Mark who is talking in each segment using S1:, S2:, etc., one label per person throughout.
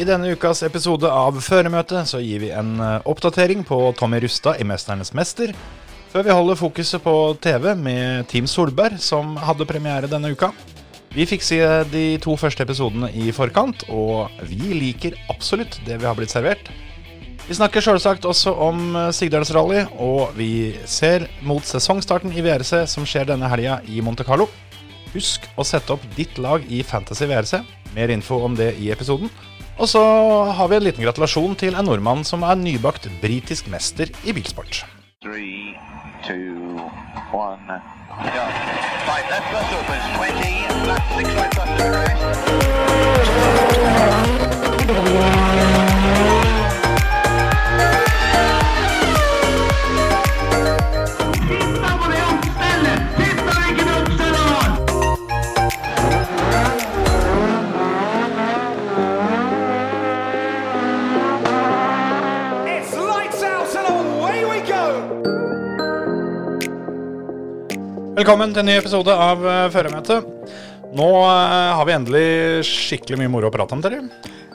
S1: I denne ukas episode av Føremøtet så gir vi en eh, oppdatering på Tommy Rustad i 'Mesternes mester', før vi holder fokuset på TV med Team Solberg, som hadde premiere denne uka. Vi fikk se de to første episodene i forkant, og vi liker absolutt det vi har blitt servert. Vi snakker selvsagt også om eh, Sigdalsrally, og vi ser mot sesongstarten i VRC som skjer denne helga i Monte Carlo. Husk å sette opp ditt lag i Fantasy VRC. Mer info om det i episoden. Og så har vi en liten gratulasjon til en nordmann som er nybakt britisk mester i bilsport.
S2: Three, two, one, go. Five left bus opens, 20, left six right bus to rest.
S3: It's lights out and away we go!
S1: Velkommen til en ny episode av eh, Føremøtet. Nå eh, har vi endelig skikkelig mye moro å prate om, dere.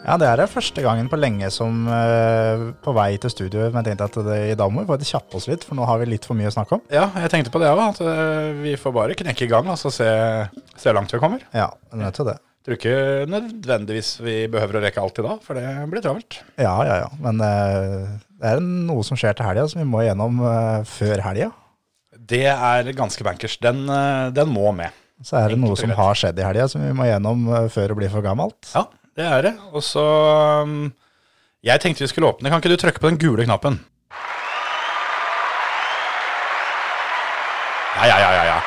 S4: Ja, det er det første gangen på lenge som eh, på vei til studio Men jeg tenkte at det, i dag må vi faktisk kjappe oss litt, for nå har vi litt for mye å snakke om.
S1: Ja, jeg tenkte på det òg, at eh, vi får bare knekke i gang og så se se hvor langt vi kommer.
S4: Ja, du er nødt til det.
S1: Tror ikke nødvendigvis vi behøver å rekke alt i dag, for det blir travelt.
S4: Ja, ja, ja. Men eh, det er noe som skjer til helga, som vi må gjennom eh, før helga.
S1: Det er ganske bankers. Den, eh, den må med.
S4: Så er det
S1: Enkelt og
S4: noe som
S1: greit.
S4: har skjedd i helga, som vi må gjennom eh, før det blir for gammelt.
S1: Ja, det er det. Og så um, Jeg tenkte vi skulle åpne. Kan ikke du trykke på den gule knappen? Ja, ja, ja, ja.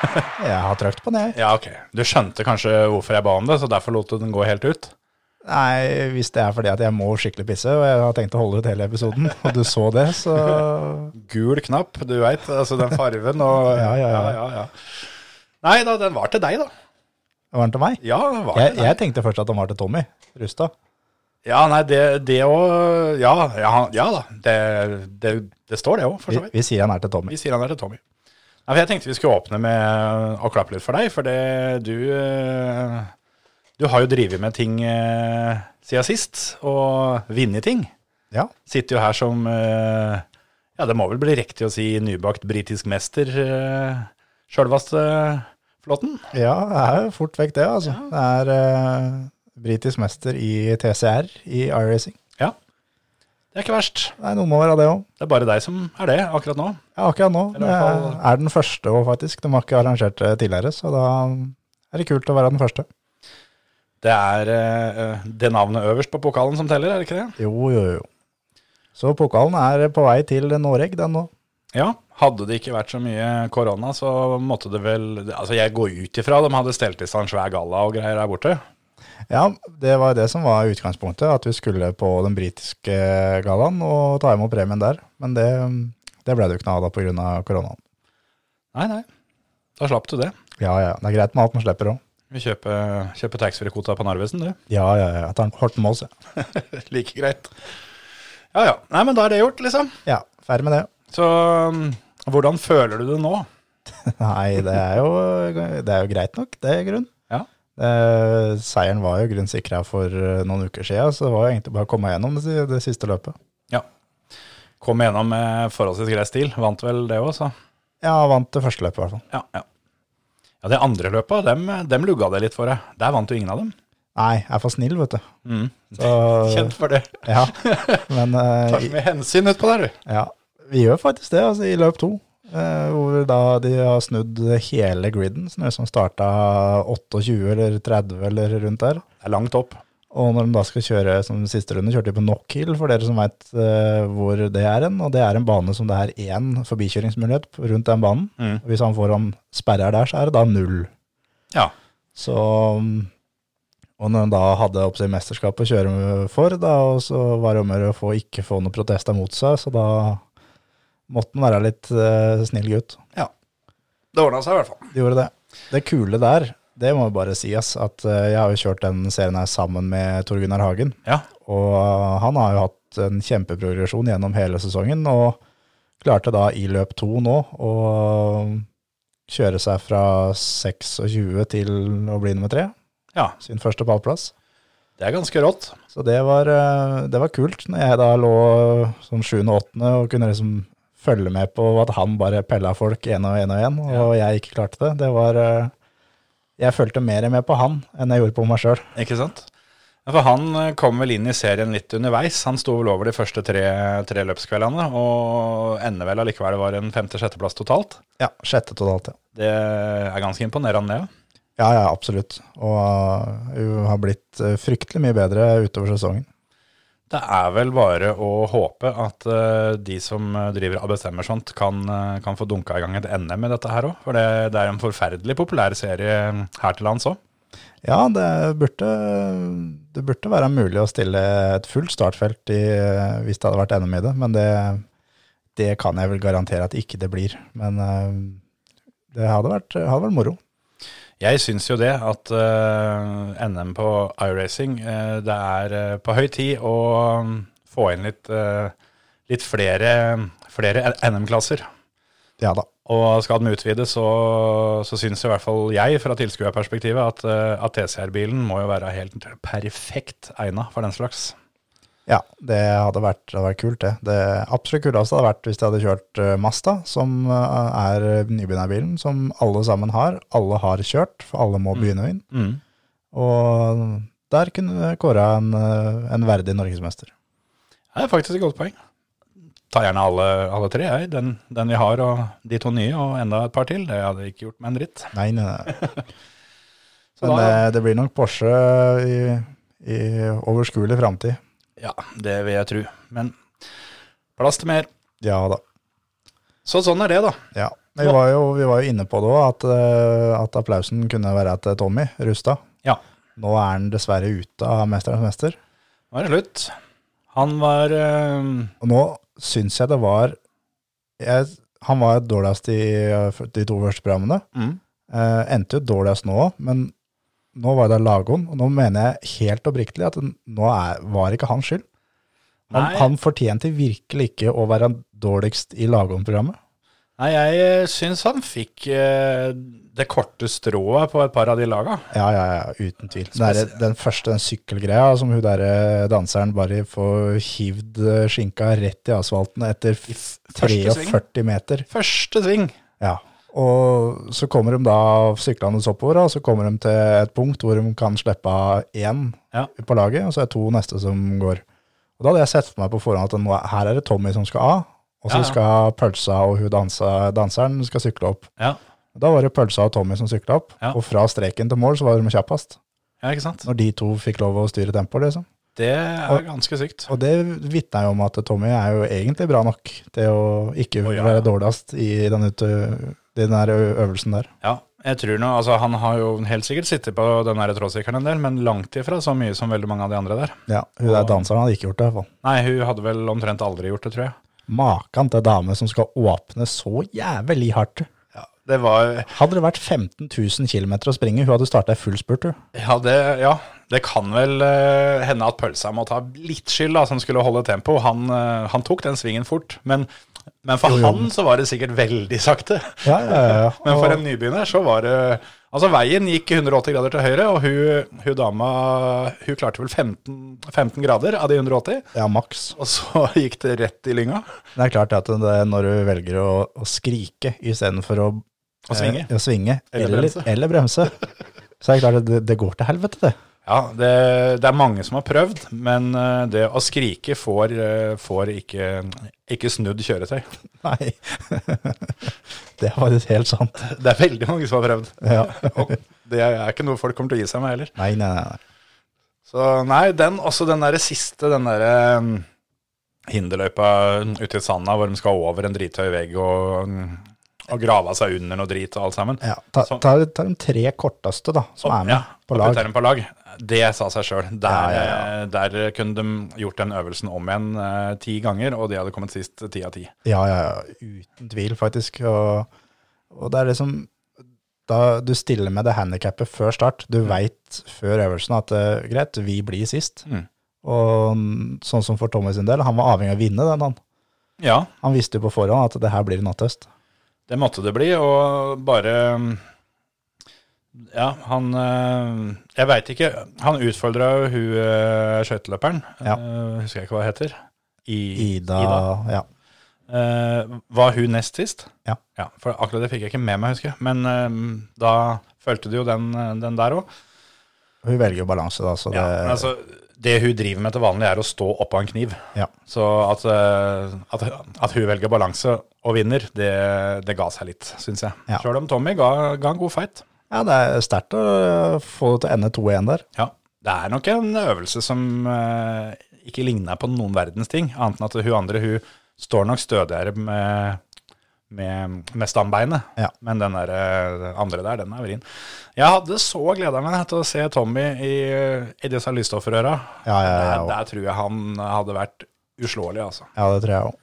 S1: Ja,
S4: Jeg har trykt på den, jeg.
S1: ja ok. Du skjønte kanskje hvorfor jeg ba om det, så derfor lot du den gå helt ut?
S4: Nei, hvis det er fordi at jeg må skikkelig pisse, og jeg har tenkt å holde ut hele episoden, og du så det, så
S1: Gul knapp, du veit. Altså den farven og
S4: Ja, ja, ja.
S1: Nei da, den var til deg, da.
S4: var den til meg.
S1: Ja, den var
S4: Jeg,
S1: til deg.
S4: jeg tenkte først at den var til Tommy Rustad.
S1: Ja, nei, det det òg ja, ja, ja da. Det, det, det står det òg, for
S4: Vi,
S1: så vidt.
S4: vi sier han er til Tommy.
S1: Vi sier han er til Tommy. Nei, for jeg tenkte vi skulle åpne med å klappe litt for deg, for det, du, eh, du har jo drevet med ting eh, siden sist, og vunnet ting.
S4: Ja.
S1: Sitter jo her som, eh, ja det må vel bli riktig å si nybakt britisk mester, eh, sjølvaste flåten.
S4: Ja, det er jo fort vekk det, altså. Det er uh, britisk mester i TCR i iRacing.
S1: Ja, det er ikke verst.
S4: Det er noen år av det òg.
S1: Det er bare deg som er det akkurat nå.
S4: Ja, akkurat nå.
S1: Eller i
S4: Det
S1: hvert
S4: er,
S1: fall-
S4: er den første òg, faktisk. De har ikke arrangert det tidligere, så da er det kult å være den første.
S1: Det er eh, det navnet øverst på pokalen som teller, er det ikke det?
S4: Jo, jo, jo. Så pokalen er på vei til Noreg, den nå.
S1: Ja, hadde det ikke vært så mye korona, så måtte det vel Altså, jeg går ut ifra de hadde stelt i stand svær galla og greier der borte.
S4: Ja, det var det som var utgangspunktet, at vi skulle på den britiske eh, gallaen og ta imot premien der. Men det, det ble det jo ikke noe av da pga. koronaen.
S1: Nei, nei. Da slapp du det.
S4: Ja, ja. Det er greit med alt man slipper òg.
S1: Vi kjøper, kjøper taxfree-kvota på Narvesen, du.
S4: Ja, ja, ja. Jeg tar den Horten Moss, jeg.
S1: like greit. Ja ja. Nei, men da er det gjort, liksom.
S4: Ja, ferdig med det.
S1: Så um, hvordan føler du det nå?
S4: Nei, det er jo, det er jo greit nok, det er grunn.
S1: Ja.
S4: Eh, seieren var jo grunn sikra for eh, noen uker siden, så det var jo egentlig bare å komme gjennom det, si- det siste løpet.
S1: Ja. Kom gjennom med forholdsvis grei stil. Vant vel det òg, så.
S4: Ja, vant det første løpet i hvert fall.
S1: Ja, ja. Ja, De andre løpa, dem, dem lugga det litt for deg. Der vant jo ingen av dem.
S4: Nei, jeg er for snill, vet du. Så,
S1: Mm. Kjent for det.
S4: ja, men eh,
S1: Tar så mye hensyn utpå der, du.
S4: ja, vi gjør faktisk det, altså, i løp to. eh, hvor da de har snudd hele griden, sånn som starta 28 eller 30 eller rundt der.
S1: Det er langt opp.
S4: Og når de da skal kjøre som siste runde, kjørte de på Knockhill, for dere som veit hvor det er en. Og det er en bane som det er én forbikjøringsmulighet på- rundt den banen.
S1: Mm.
S4: Og Hvis han får om sperrer der, så er det da null.
S1: Ja.
S4: Så mm, Og når han da hadde opp seg mesterskapet å kjøre med for, da, og så var det om å gjøre å få- ikke få noen protester mot seg, så da måtte han være litt eh, snill gutt.
S1: Det ordna seg i hvert fall.
S4: De gjorde det. Det kule der, det må jo bare sies, at eh, jeg har jo kjørt den serien her sammen med Tor Gunnar Hagen.
S1: Ja.
S4: Og han har jo hatt en kjempeprogresjon gjennom hele sesongen, og klarte da i løp to nå å kjøre seg fra 26 til å bli nummer tre,
S1: ja.
S4: sin første pallplass.
S1: Det er ganske rått.
S4: Så det var, eh, det var kult når jeg da lå sånn sjuende og åttende og kunne liksom følge med på at han bare pella folk én og én og én, og jeg ikke klarte det. Det var eh, Jeg fulgte mer med på han enn jeg gjorde på meg sjøl.
S1: Ikke sant? Ja, For han eh, kom vel inn i serien litt underveis. Han sto vel over de første tre, tre løpskveldene, og ender vel allikevel var en femte-sjetteplass totalt.
S4: Ja, sjette totalt, ja.
S1: Det er ganske imponerende, det.
S4: Ja, ja, absolutt. Og eh, hun har blitt eh, fryktelig mye bedre utover sesongen.
S1: Det er vel bare å håpe at eh, de som driver og bestemmer sånt, kan, eh, kan få dunka i gang et NM med dette her òg. For det, det er en forferdelig populær serie her til lands òg.
S4: Ja, det burde, det burde være mulig å stille et fullt startfelt i, hvis det hadde vært NM i det, men det, det kan jeg vel garantere at ikke det blir. Men eh, det hadde vært, hadde vært moro.
S1: Jeg syns jo det at eh, NM på iRacing, eh, det er eh, på høy tid å mm, få inn litt, eh, litt flere, flere NM-klasser.
S4: Ja da.
S1: Og skal den utvides, så, så syns i hvert fall jeg fra tilskuerperspektivet at, eh, at TCR-bilen må jo være helt perfekt egna for den slags.
S4: Ja, det hadde vært, det hadde vært kult, det. Det absolutt kuleste hadde vært hvis de hadde kjørt eh, Mazda, som eh, er nybegynnerbilen, som alle sammen har. Alle har kjørt, for alle må begynne å vinne.
S1: Mm.
S4: Og der kunne Kåre en, eh, en verdig norgesmester.
S1: Det er faktisk et godt poeng. Ta gjerne alle, alle tre, jeg. Den, den vi har, og de to nye, og enda et par til. Det hadde jeg ikke gjort med en dritt.
S4: Nei, nei, nei.
S1: Så
S4: Men eh,
S1: da-
S4: det, det blir nok Porsche i, i overskuelig framtid.
S1: Ja, det vil jeg tro. Men plass til mer.
S4: Ja da.
S1: Så sånn er det, da.
S4: Ja. Vi var jo, vi var jo inne på det òg, at, eh, at applausen kunne være til Tommy Rustad.
S1: Ja,
S4: Nå er han dessverre ute av 'Mesternes mester'.
S1: nå er det slutt. Han var eh,
S4: Og nå syns jeg det var jeg, Han var jo dårligst i eh, de to første programmene.
S1: Mm.
S4: Eh, endte jo dårligst nå òg, men nå var det Lagoen. Og nå mener jeg helt oppriktig at nå er, var ikke hans skyld. Han,
S1: Nei.
S4: han fortjente virkelig ikke å være dårligst i Lagoen-programmet.
S1: Nei, jeg syns han fikk eh, det korte strået på et par av de laga.
S4: Ja, ja, ja, uten tvil. Det er, den første den sykkelgreia som hun der eh, danseren bare får hivd eh, skinka rett i asfalten etter f-
S1: første sving.
S4: 43 meter.
S1: Første sving.
S4: Ja, og så kommer de da syklende oppover, og så kommer de til et punkt hvor de kan slippe av én
S1: Ja.
S4: på laget, og så er to neste som går. Og da hadde jeg sett for meg på forhånd at nå, er- her er det Tommy som skal av, og så
S1: Ja, ja.
S4: skal pølsa og hun dansa, danseren skal sykle opp.
S1: Ja.
S4: Da var det pølsa og Tommy som sykla opp,
S1: Ja.
S4: og fra streken til mål så var de kjappest.
S1: ja, ikke sant?
S4: Når de to fikk lov å styre tempoet, liksom.
S1: Det er ganske sykt.
S4: Og det vitner jo om at Tommy er jo egentlig bra nok til å ikke
S1: Å, ja.
S4: være dårligst i den, ute, den der øvelsen der.
S1: Ja, jeg tror nå, altså Han har jo helt sikkert sittet på den her trådsykkelen en del, men langt ifra så mye som veldig mange av de andre der.
S4: Ja, hun der danseren hadde ikke gjort det, i hvert fall.
S1: Nei, hun hadde vel omtrent aldri gjort det, tror jeg.
S4: Makan til dame som skal åpne så jævlig hardt.
S1: Det var,
S4: Hadde det vært 15 000 km å springe, hun hadde starta i full spurt, hun.
S1: ja, det, ja, det kan vel eh, hende at Pølsa må ta litt skyld, da, som skulle holde tempo. Han, eh, han tok den svingen fort, men, men for
S4: Jo, jo.
S1: han så var det sikkert veldig sakte.
S4: Ja, ja, ja, ja.
S1: Men for
S4: Og-
S1: en nybegynner så var det Altså, veien gikk 180 grader til høyre, og hun, hun dama hun klarte vel 15, 15 grader av de 180,
S4: ja, maks.
S1: og så gikk det rett i lynga.
S4: Men det er klart at det, når du velger å, å skrike istedenfor å,
S1: Å svinge.
S4: eh, å svinge
S1: Eller
S4: eller, eller
S1: bremse.
S4: bremse, så er det klart at det, det går til helvete, det.
S1: Ja, det, det er mange som har prøvd, men eh, det å skrike får, eh, får ikke, ikke snudd kjøretøy.
S4: Nei. det var litt helt sant.
S1: Det er veldig mange som har prøvd.
S4: Ja.
S1: Og det er ikke noe folk kommer til å gi seg med heller.
S4: Nei, nei, nei. nei.
S1: Så nei, den, også den der siste, den derre mm, hinderløypa ute i sanda hvor de skal over en drithøy vegg og, mm, og grave seg under noe drit og alt sammen.
S4: Ja, ta,
S1: Så-
S4: ta, ta de tre korteste, da, som er
S1: Sånn.
S4: med
S1: Ja,
S4: på
S1: og
S4: lag.
S1: putter dem på lag. Det sa seg sjøl. Der,
S4: Ja, ja,
S1: eh, der kunne de gjort den øvelsen om igjen eh, ti ganger, og de hadde kommet sist ti av ti.
S4: Ja, ja, ja, uten tvil, faktisk. Og, og det er liksom da du stiller med det handikappet før start. Du veit før øvelsen at eh, greit, vi blir sist.
S1: Mm.
S4: Og mm, sånn som for Tommy sin del, han var avhengig av å vinne den. Han,
S1: Ja,
S4: han visste jo på forhånd at det her blir en nattest.
S1: Det måtte det bli, og bare Ja, han eh, Jeg veit ikke. Han utfordra jo hun eh, skøyteløperen.
S4: Ja.
S1: Eh, Husker jeg ikke hva hun heter. I-
S4: Ida, Ja.
S1: Eh, var hun nest sist?
S4: Ja.
S1: For akkurat det fikk jeg ikke med meg, husker jeg. Men eh, da fulgte du jo den, eh, den der òg.
S4: Hun velger jo balanse, da, så
S1: Ja,
S4: det
S1: men altså, det hun driver med til vanlig, er å stå oppå en kniv.
S4: Ja.
S1: Så at, eh, at, at hun velger balanse og vinner, det, det ga seg litt, syns jeg.
S4: Ja.
S1: Sjøl om Tommy ga, ga en god fight.
S4: ja, det er sterkt å få det til å ende 2-1 der.
S1: Ja. Det er nok en øvelse som eh, ikke ligner på noen verdens ting, annet enn at hun andre hun står nok stødigere med, med, med stambeinet.
S4: Ja.
S1: Men den der, eh, den andre der, den er vrien. Jeg hadde så gleda meg til å se Tommy i, i disse lysstoffrøra.
S4: Ja, ja, ja, ja.
S1: der, der tror jeg han hadde vært uslåelig, altså.
S4: Ja, det tror jeg òg.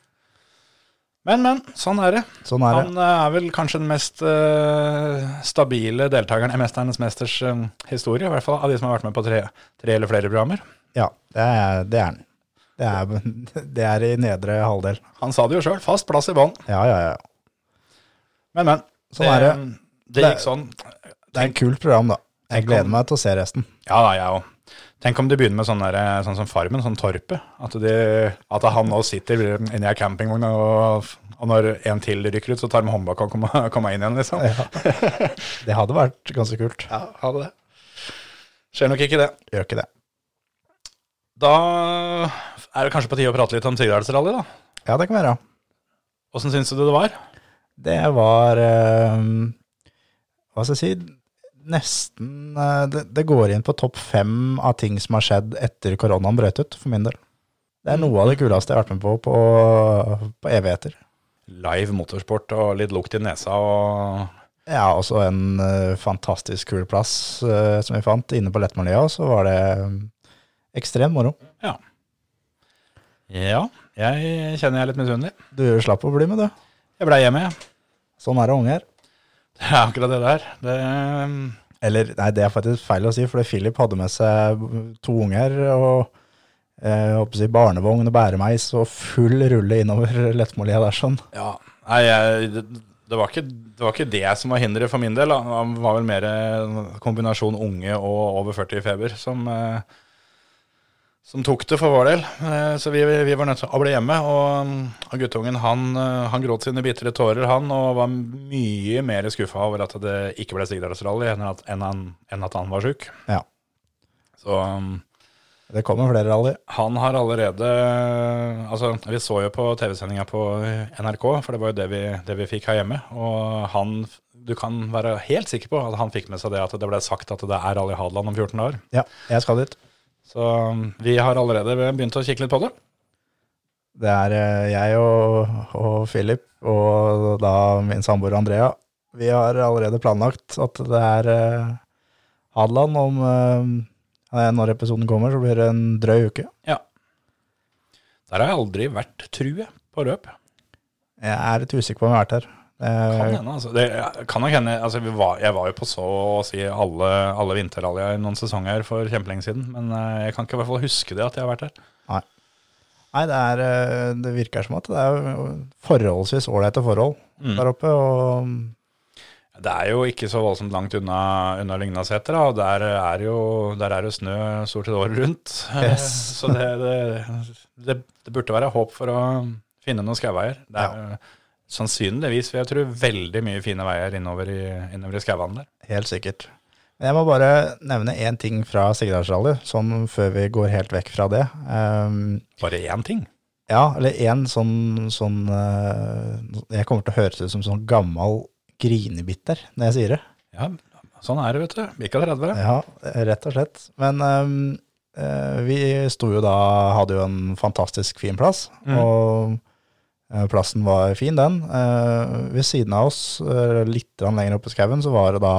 S1: Men, men. Sånn er det.
S4: Sånn er det.
S1: Han eh, er vel kanskje den mest eh, stabile deltakeren i Mesternes mesters eh, historie, i hvert fall av de som har vært med på tre, tre eller flere programmer.
S4: Ja, det er, det er den. Det er, det er i nedre halvdel.
S1: Han sa det jo sjøl, fast plass i bånn.
S4: Ja, ja, ja.
S1: Men, men.
S4: Sånn er det.
S1: Det gikk sånn.
S4: Det er et kult program, da. Jeg
S1: Tenk
S4: gleder
S1: om-
S4: meg til å se resten.
S1: Ja da, jeg òg. Tenk om de begynner med sånn, der, sånn som Farmen, sånn Torpet. At, de, at han nå sitter inni ei campingvogn, og, og når en til rykker ut, så tar de håndbak og kommer, kommer inn igjen, liksom. Ja,
S4: Det hadde vært ganske kult.
S1: ha det. Skjer nok ikke det.
S4: Gjør ikke det.
S1: Da er det kanskje på tide å prate litt om Sigdalsrally, da.
S4: Ja, det kan være.
S1: Åssen syns du det var?
S4: Det var eh, Hva skal jeg si? Nesten eh, det, det går inn på topp fem av ting som har skjedd etter koronaen brøt ut, for min del. Det
S1: Mm.
S4: er noe av det kuleste jeg har vært med på på, på evigheter.
S1: Live motorsport og litt lukt i nesa og
S4: Ja, også en eh, fantastisk kul plass eh, som vi fant inne på Lettmølløya, så var det eh, ekstremt moro.
S1: Ja. Ja, jeg kjenner jeg er litt misunnelig.
S4: Du slapp å bli med, du.
S1: Jeg blei hjemme, jeg.
S4: Sånn er det unger.
S1: Det er akkurat det der. Det,
S4: ehm, Eller, nei, det er faktisk feil å si, for Philip hadde med seg to unger og eh, jeg håper å si, barnevogn og bæremeis og full rulle innover Lettmollia der sånn.
S1: ja, nei, jeg, det, det, var ikke, det var ikke det som var hinderet for min del. da. Det var vel mer eh, kombinasjon unge og over 40 i feber som, eh, som tok det for vår del. Eh, Så vi, vi var nødt til å bli hjemme, og, og guttungen han, eh, han gråt sine bitre tårer, han, og var mye mer skuffa over at det ikke ble Sigdalsrally enn, at- enn, han- enn at han var sjuk.
S4: Ja,
S1: Så um,
S4: det kommer flere rally.
S1: Han har allerede Altså, vi så jo på TV-sendinga på NRK, for det var jo det vi, det vi fikk her hjemme. Og han Du kan være helt sikker på at han fikk med seg det at det ble sagt at det er Rally Hadeland om 14 dager.
S4: Ja, jeg skal dit.
S1: Så um, vi har allerede begynt å kikke litt på det.
S4: Det er eh, jeg og, og Philip og da min samboer Andrea. Vi har allerede planlagt at det er eh, Hadeland om eh, Når episoden kommer, så blir det en drøy uke.
S1: Ja. Der har jeg aldri vært, tror jeg, på løp.
S4: Jeg er litt usikker på om jeg har vært her. Eh,
S1: Kan hende, altså. Det kan nok hende altså, vi var, Jeg var jo på så å si alle, alle vinterrallyer noen sesonger for kjempelenge siden, men eh, jeg kan ikke i hvert fall huske det at jeg har vært der.
S4: Nei, det, er, eh, det virker som at det er jo forholdsvis ålreite forhold der oppe. Og
S1: Det er jo ikke så voldsomt langt unna, unna Lygnaseter, da, og der er, jo, der er jo snø stort sett året rundt. Eh,
S4: Yes.
S1: Så det, det, det, det burde være håp for å finne noen skauveier. Det er sannsynligvis, vil jeg tro, veldig mye fine veier innover i, innover i skauene der.
S4: helt sikkert. Men jeg må bare nevne én ting fra Sigdalsrally, sånn før vi går helt vekk fra det. Ehm,
S1: Bare én ting.
S4: ja, eller én sånn, sånn eh, Jeg kommer til å høres ut som sånn gammel grinebitter når jeg sier det.
S1: Ja, sånn er det, vet du. Bikka 30.
S4: Ja, rett og slett. Men ehm, eh, vi sto jo da, hadde jo en fantastisk fin plass,
S1: Mm.
S4: og eh, plassen var fin den. Eh, ved siden av oss, eh, litt grann lenger oppe i skauen, så var det da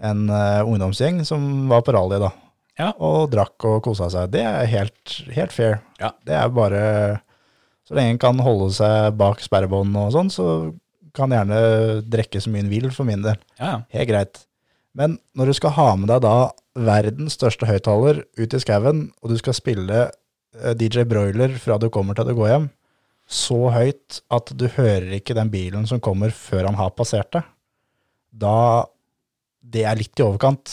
S4: en eh, ungdomsgjeng som var på rally da,
S1: Ja.
S4: og drakk og kosa seg. Det er helt, helt fair.
S1: Ja.
S4: Det er bare, så lenge en kan holde seg bak sperrebånd og sånn, så kan en gjerne drekke så mye en vil for min del.
S1: Ja,
S4: Helt greit. Men når du skal ha med deg da verdens største høyttaler ut i skauen, og du skal spille eh, DJ Broiler fra du kommer til du går hjem, så høyt at du hører ikke den bilen som kommer før han har passert deg, da det er litt i overkant.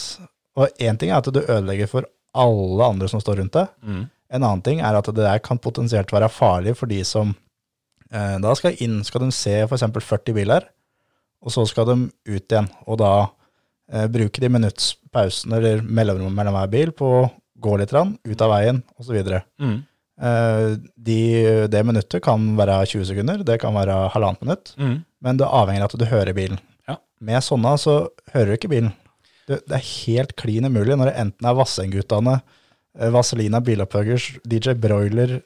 S4: Og én ting er at du ødelegger for alle andre som står rundt deg.
S1: Mm.
S4: En annen ting er at det der kan potensielt være farlig for de som eh, da skal inn, skal de se f.eks. 40 biler, og så skal de ut igjen. Og da eh, bruke de minuttspausene eller mellomrommet mellom hver bil på å gå litt, rann, ut av veien osv.
S1: Mm.
S4: Eh, de, det minuttet kan være 20 sekunder, det kan være halvannet minutt,
S1: Mm.
S4: men det avhenger av at du hører bilen.
S1: Ja.
S4: Med sånne så hører du ikke bilen. Det, det er helt klin umulig når det enten er Vassendguttene, eh, Vazelina Bilopphuggers, DJ Broiler,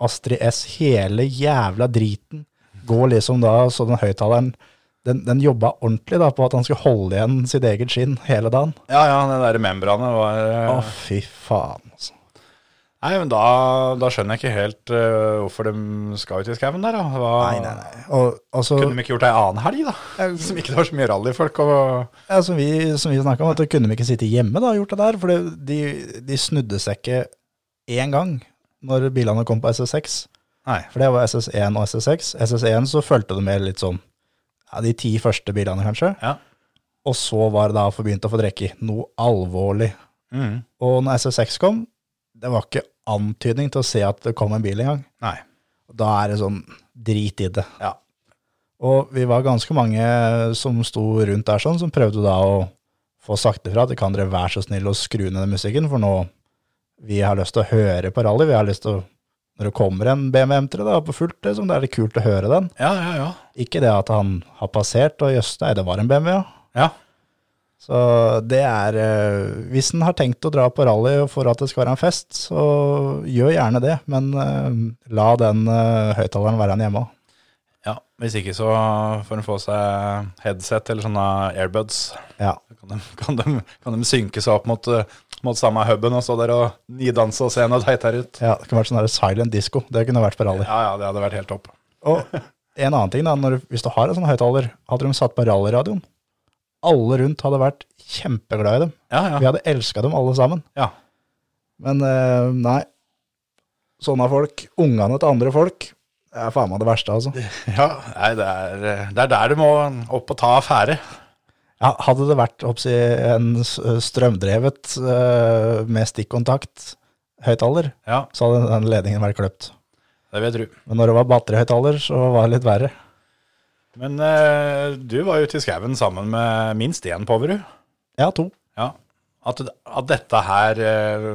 S4: Astrid S, hele jævla driten går liksom da så den høyttaleren den, den jobba ordentlig da på at han skulle holde igjen sitt eget skinn hele dagen.
S1: Ja, ja, det der membranet var
S4: Å,
S1: eh,
S4: fy faen, altså.
S1: Nei, men da, da skjønner jeg ikke helt eh, hvorfor de skal ut i skauen der, da. Hva,
S4: Nei, nei, nei. Og, altså,
S1: Kunne de ikke gjort det ei annen helg, da? Som ikke det var så mye rallyfolk og
S4: ja, som vi, som vi snakka om, at da kunne de ikke sitte hjemme da og gjort det der. For det, de, de snudde seg ikke én gang når bilene kom på SS6.
S1: Nei.
S4: For det var SS1 og SS6. SS1 så fulgte det med litt sånn ja, de ti første bilene, kanskje.
S1: Ja.
S4: Og så var det da for begynt å få drikke. Noe alvorlig.
S1: Mm.
S4: Og når SS6 kom, det var ikke antydning til å se at det kom en bil engang.
S1: Nei.
S4: Da er det sånn drit i det.
S1: Ja.
S4: Og vi var ganske mange som sto rundt der sånn, som prøvde da å få sagt ifra at kan dere være så snill å skru ned den musikken, for nå vi har lyst til å høre på rally. Vi har lyst til å Når det kommer en BMW M3 da, på fullt, liksom, det er litt kult å høre den.
S1: Ja, ja, ja.
S4: Ikke det at han har passert, og jøss, nei, det var en BMW, ja.
S1: Ja.
S4: Så det er eh, Hvis en har tenkt å dra på rally for at det skal være en fest, så gjør gjerne det, men eh, la den eh, høyttaleren være igjen hjemme òg.
S1: Ja, Hvis ikke så får de få seg headset eller sånne airbuds.
S4: Ja.
S1: Så Kan de, kan de, kan de synke seg opp mot, eh, mot samme huben og stå der og nidanse og se noe teitere ut?
S4: Ja, det kunne vært sånn der silent disco. Det kunne vært på rally.
S1: Ja, ja, det hadde vært helt topp.
S4: Og en annen ting, da, når, du- hvis du har en sånn høyttaler, hadde de satt på rallyradioen. Alle rundt hadde vært kjempeglad i dem.
S1: Ja,
S4: Vi
S1: ja.
S4: hadde elska dem alle sammen.
S1: ja.
S4: Men eh, nei, sånne folk, ungene til andre folk, det er faen meg det verste, altså.
S1: ja nei, det er, eh, det er der du må opp og ta affære.
S4: Ja, hadde det vært hoppsi, en s- strømdrevet eh, med stikkontakt høyttaler,
S1: Ja,
S4: så hadde den ledningen vært kløpt.
S1: det vil jeg tro.
S4: Men når det var batterihøyttaler, så var det litt verre.
S1: Men eh, du var jo ute i skauen sammen med minst én Poverud.
S4: Ja, to.
S1: Ja. At, at dette her eh,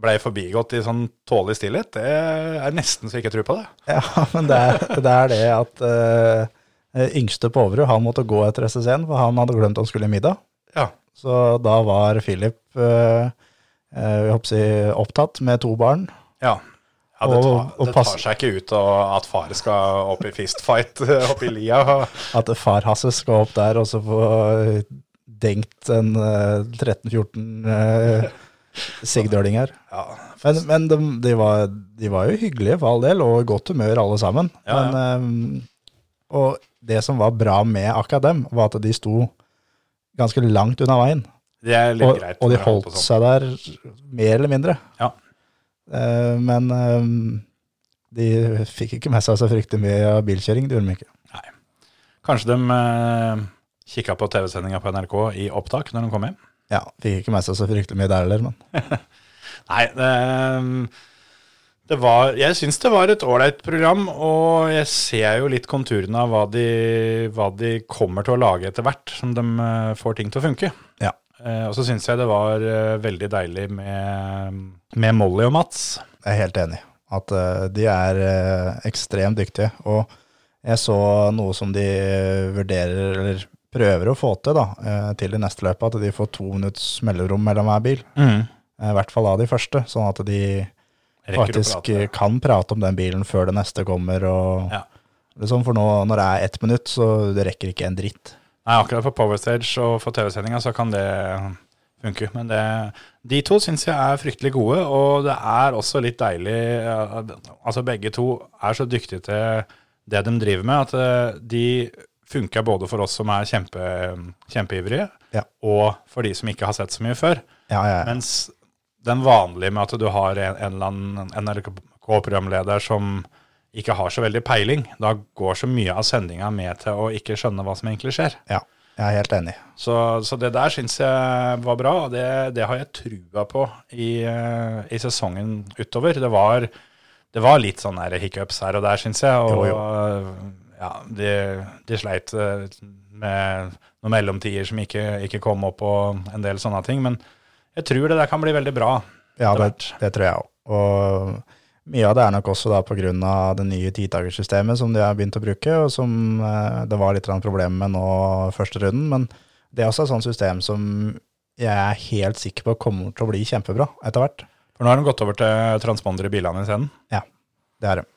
S1: ble forbigått i sånn tålelig stillhet, det er nesten så jeg ikke tror på det.
S4: Ja, men det er det, er det at eh, yngste på Overud, han måtte gå etter SS1, for han hadde glemt han skulle i middag.
S1: Ja.
S4: Så da var Philip eh, eh, jeg håper å si, opptatt med to barn.
S1: Ja. Ja, det, tar,
S4: Og- og
S1: det
S4: pass-
S1: tar seg ikke ut og at far skal opp i fistfight opp i lia. og-
S4: At far Hasse skal opp der og så få eh, dengt en eh, 13-14 eh, sigdøling her.
S1: Ja.
S4: Men, men de, de, var, de var jo hyggelige for all del, og i godt humør alle sammen.
S1: Ja, ja.
S4: Men, eh, og det som var bra med akkurat dem, var at de sto ganske langt unna veien.
S1: Det er litt
S4: Og,
S1: greit.
S4: og de
S1: når jeg holder
S4: holdt
S1: på sånn.
S4: seg der mer eller mindre.
S1: Ja.
S4: Eh, Men eh, de fikk ikke med seg så fryktelig mye av bilkjøring, det gjorde de ikke.
S1: Kanskje de eh, kikka på TV-sendinga på NRK i opptak når de kom hjem?
S4: Ja, fikk ikke med seg så fryktelig mye der heller, men
S1: Nei, det, det var Jeg syns det var et ålreit program, og jeg ser jo litt konturene av hva de, hva de kommer til å lage etter hvert, som de eh, får ting til å funke.
S4: ja.
S1: Eh, Og så syns jeg det var eh, veldig deilig med, med Molly og Mats.
S4: Jeg er helt enig. At eh, de er eh, ekstremt dyktige. Og jeg så noe som de eh, vurderer, eller prøver å få til, da, eh, til det neste løpet. At de får to minutts mellomrom mellom hver bil. Eh, I hvert fall av de første. Sånn at de
S1: Jeg Mm. rekker å
S4: faktisk
S1: prate.
S4: eh, kan prate om den bilen før det neste kommer. Og,
S1: Ja.
S4: liksom, for nå, når det er ett minutt, så det rekker ikke en dritt.
S1: Nei, akkurat for Powerstage og for TV-sendinga så kan det funke. Men det, de to syns jeg er fryktelig gode, og det er også litt deilig eh, Altså begge to er så dyktige til det de driver med, at eh, de funker både for oss som er kjempe, kjempeivrige,
S4: Ja.
S1: og for de som ikke har sett så mye før.
S4: Ja, ja, ja.
S1: Mens den vanlige med at du har en, en eller annen NRK-programleder som ikke har så veldig peiling, da går så mye av sendinga med til å ikke skjønne hva som egentlig skjer.
S4: ja. Jeg er helt enig.
S1: Så, så det der syns jeg var bra, og det, det har jeg trua på i, eh, i sesongen utover. Det var, det var litt sånn her hiccups her og der, syns jeg. Og
S4: Jo,
S1: eh, ja, de, de sleit eh, med noen mellomtider som ikke, ikke kom opp, og en del sånne ting. Men jeg tror det der kan bli veldig bra.
S4: Ja,
S1: etter
S4: det,
S1: hvert.
S4: det tror jeg òg. Og mye av det er nok også da pga. det nye tidagerssystemet som de har begynt å bruke, og som eh, det var litt grann problemer med nå første runden. Men det er også et sånt system som jeg er helt sikker på kommer til å bli kjempebra etter hvert.
S1: For nå har de gått over til transponder i bilene isteden.
S4: Det er det.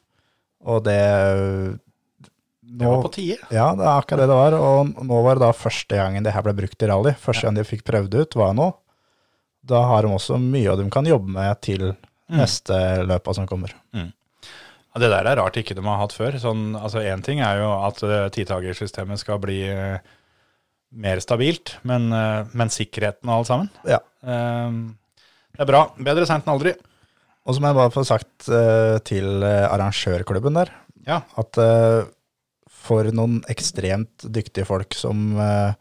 S4: Og det
S1: Det var
S4: nå-
S1: på tide.
S4: Ja, det er akkurat det det var. Og nå var det da første gangen det her ble brukt i rally. Første gang de fikk prøvd det ut, var nå. Da har de også mye de kan jobbe med til neste løpa som kommer.
S1: Ja, Det der er rart ikke de har hatt før. Sånn, altså Én ting er jo at eh, titagersystemet skal bli eh, mer stabilt, men, eh, men sikkerheten og alt sammen
S4: Ja.
S1: eh, Det er bra. Bedre seint enn aldri.
S4: Og så må jeg bare få sagt eh, til eh, arrangørklubben der
S1: Ja.
S4: at eh, for noen ekstremt dyktige folk som, eh,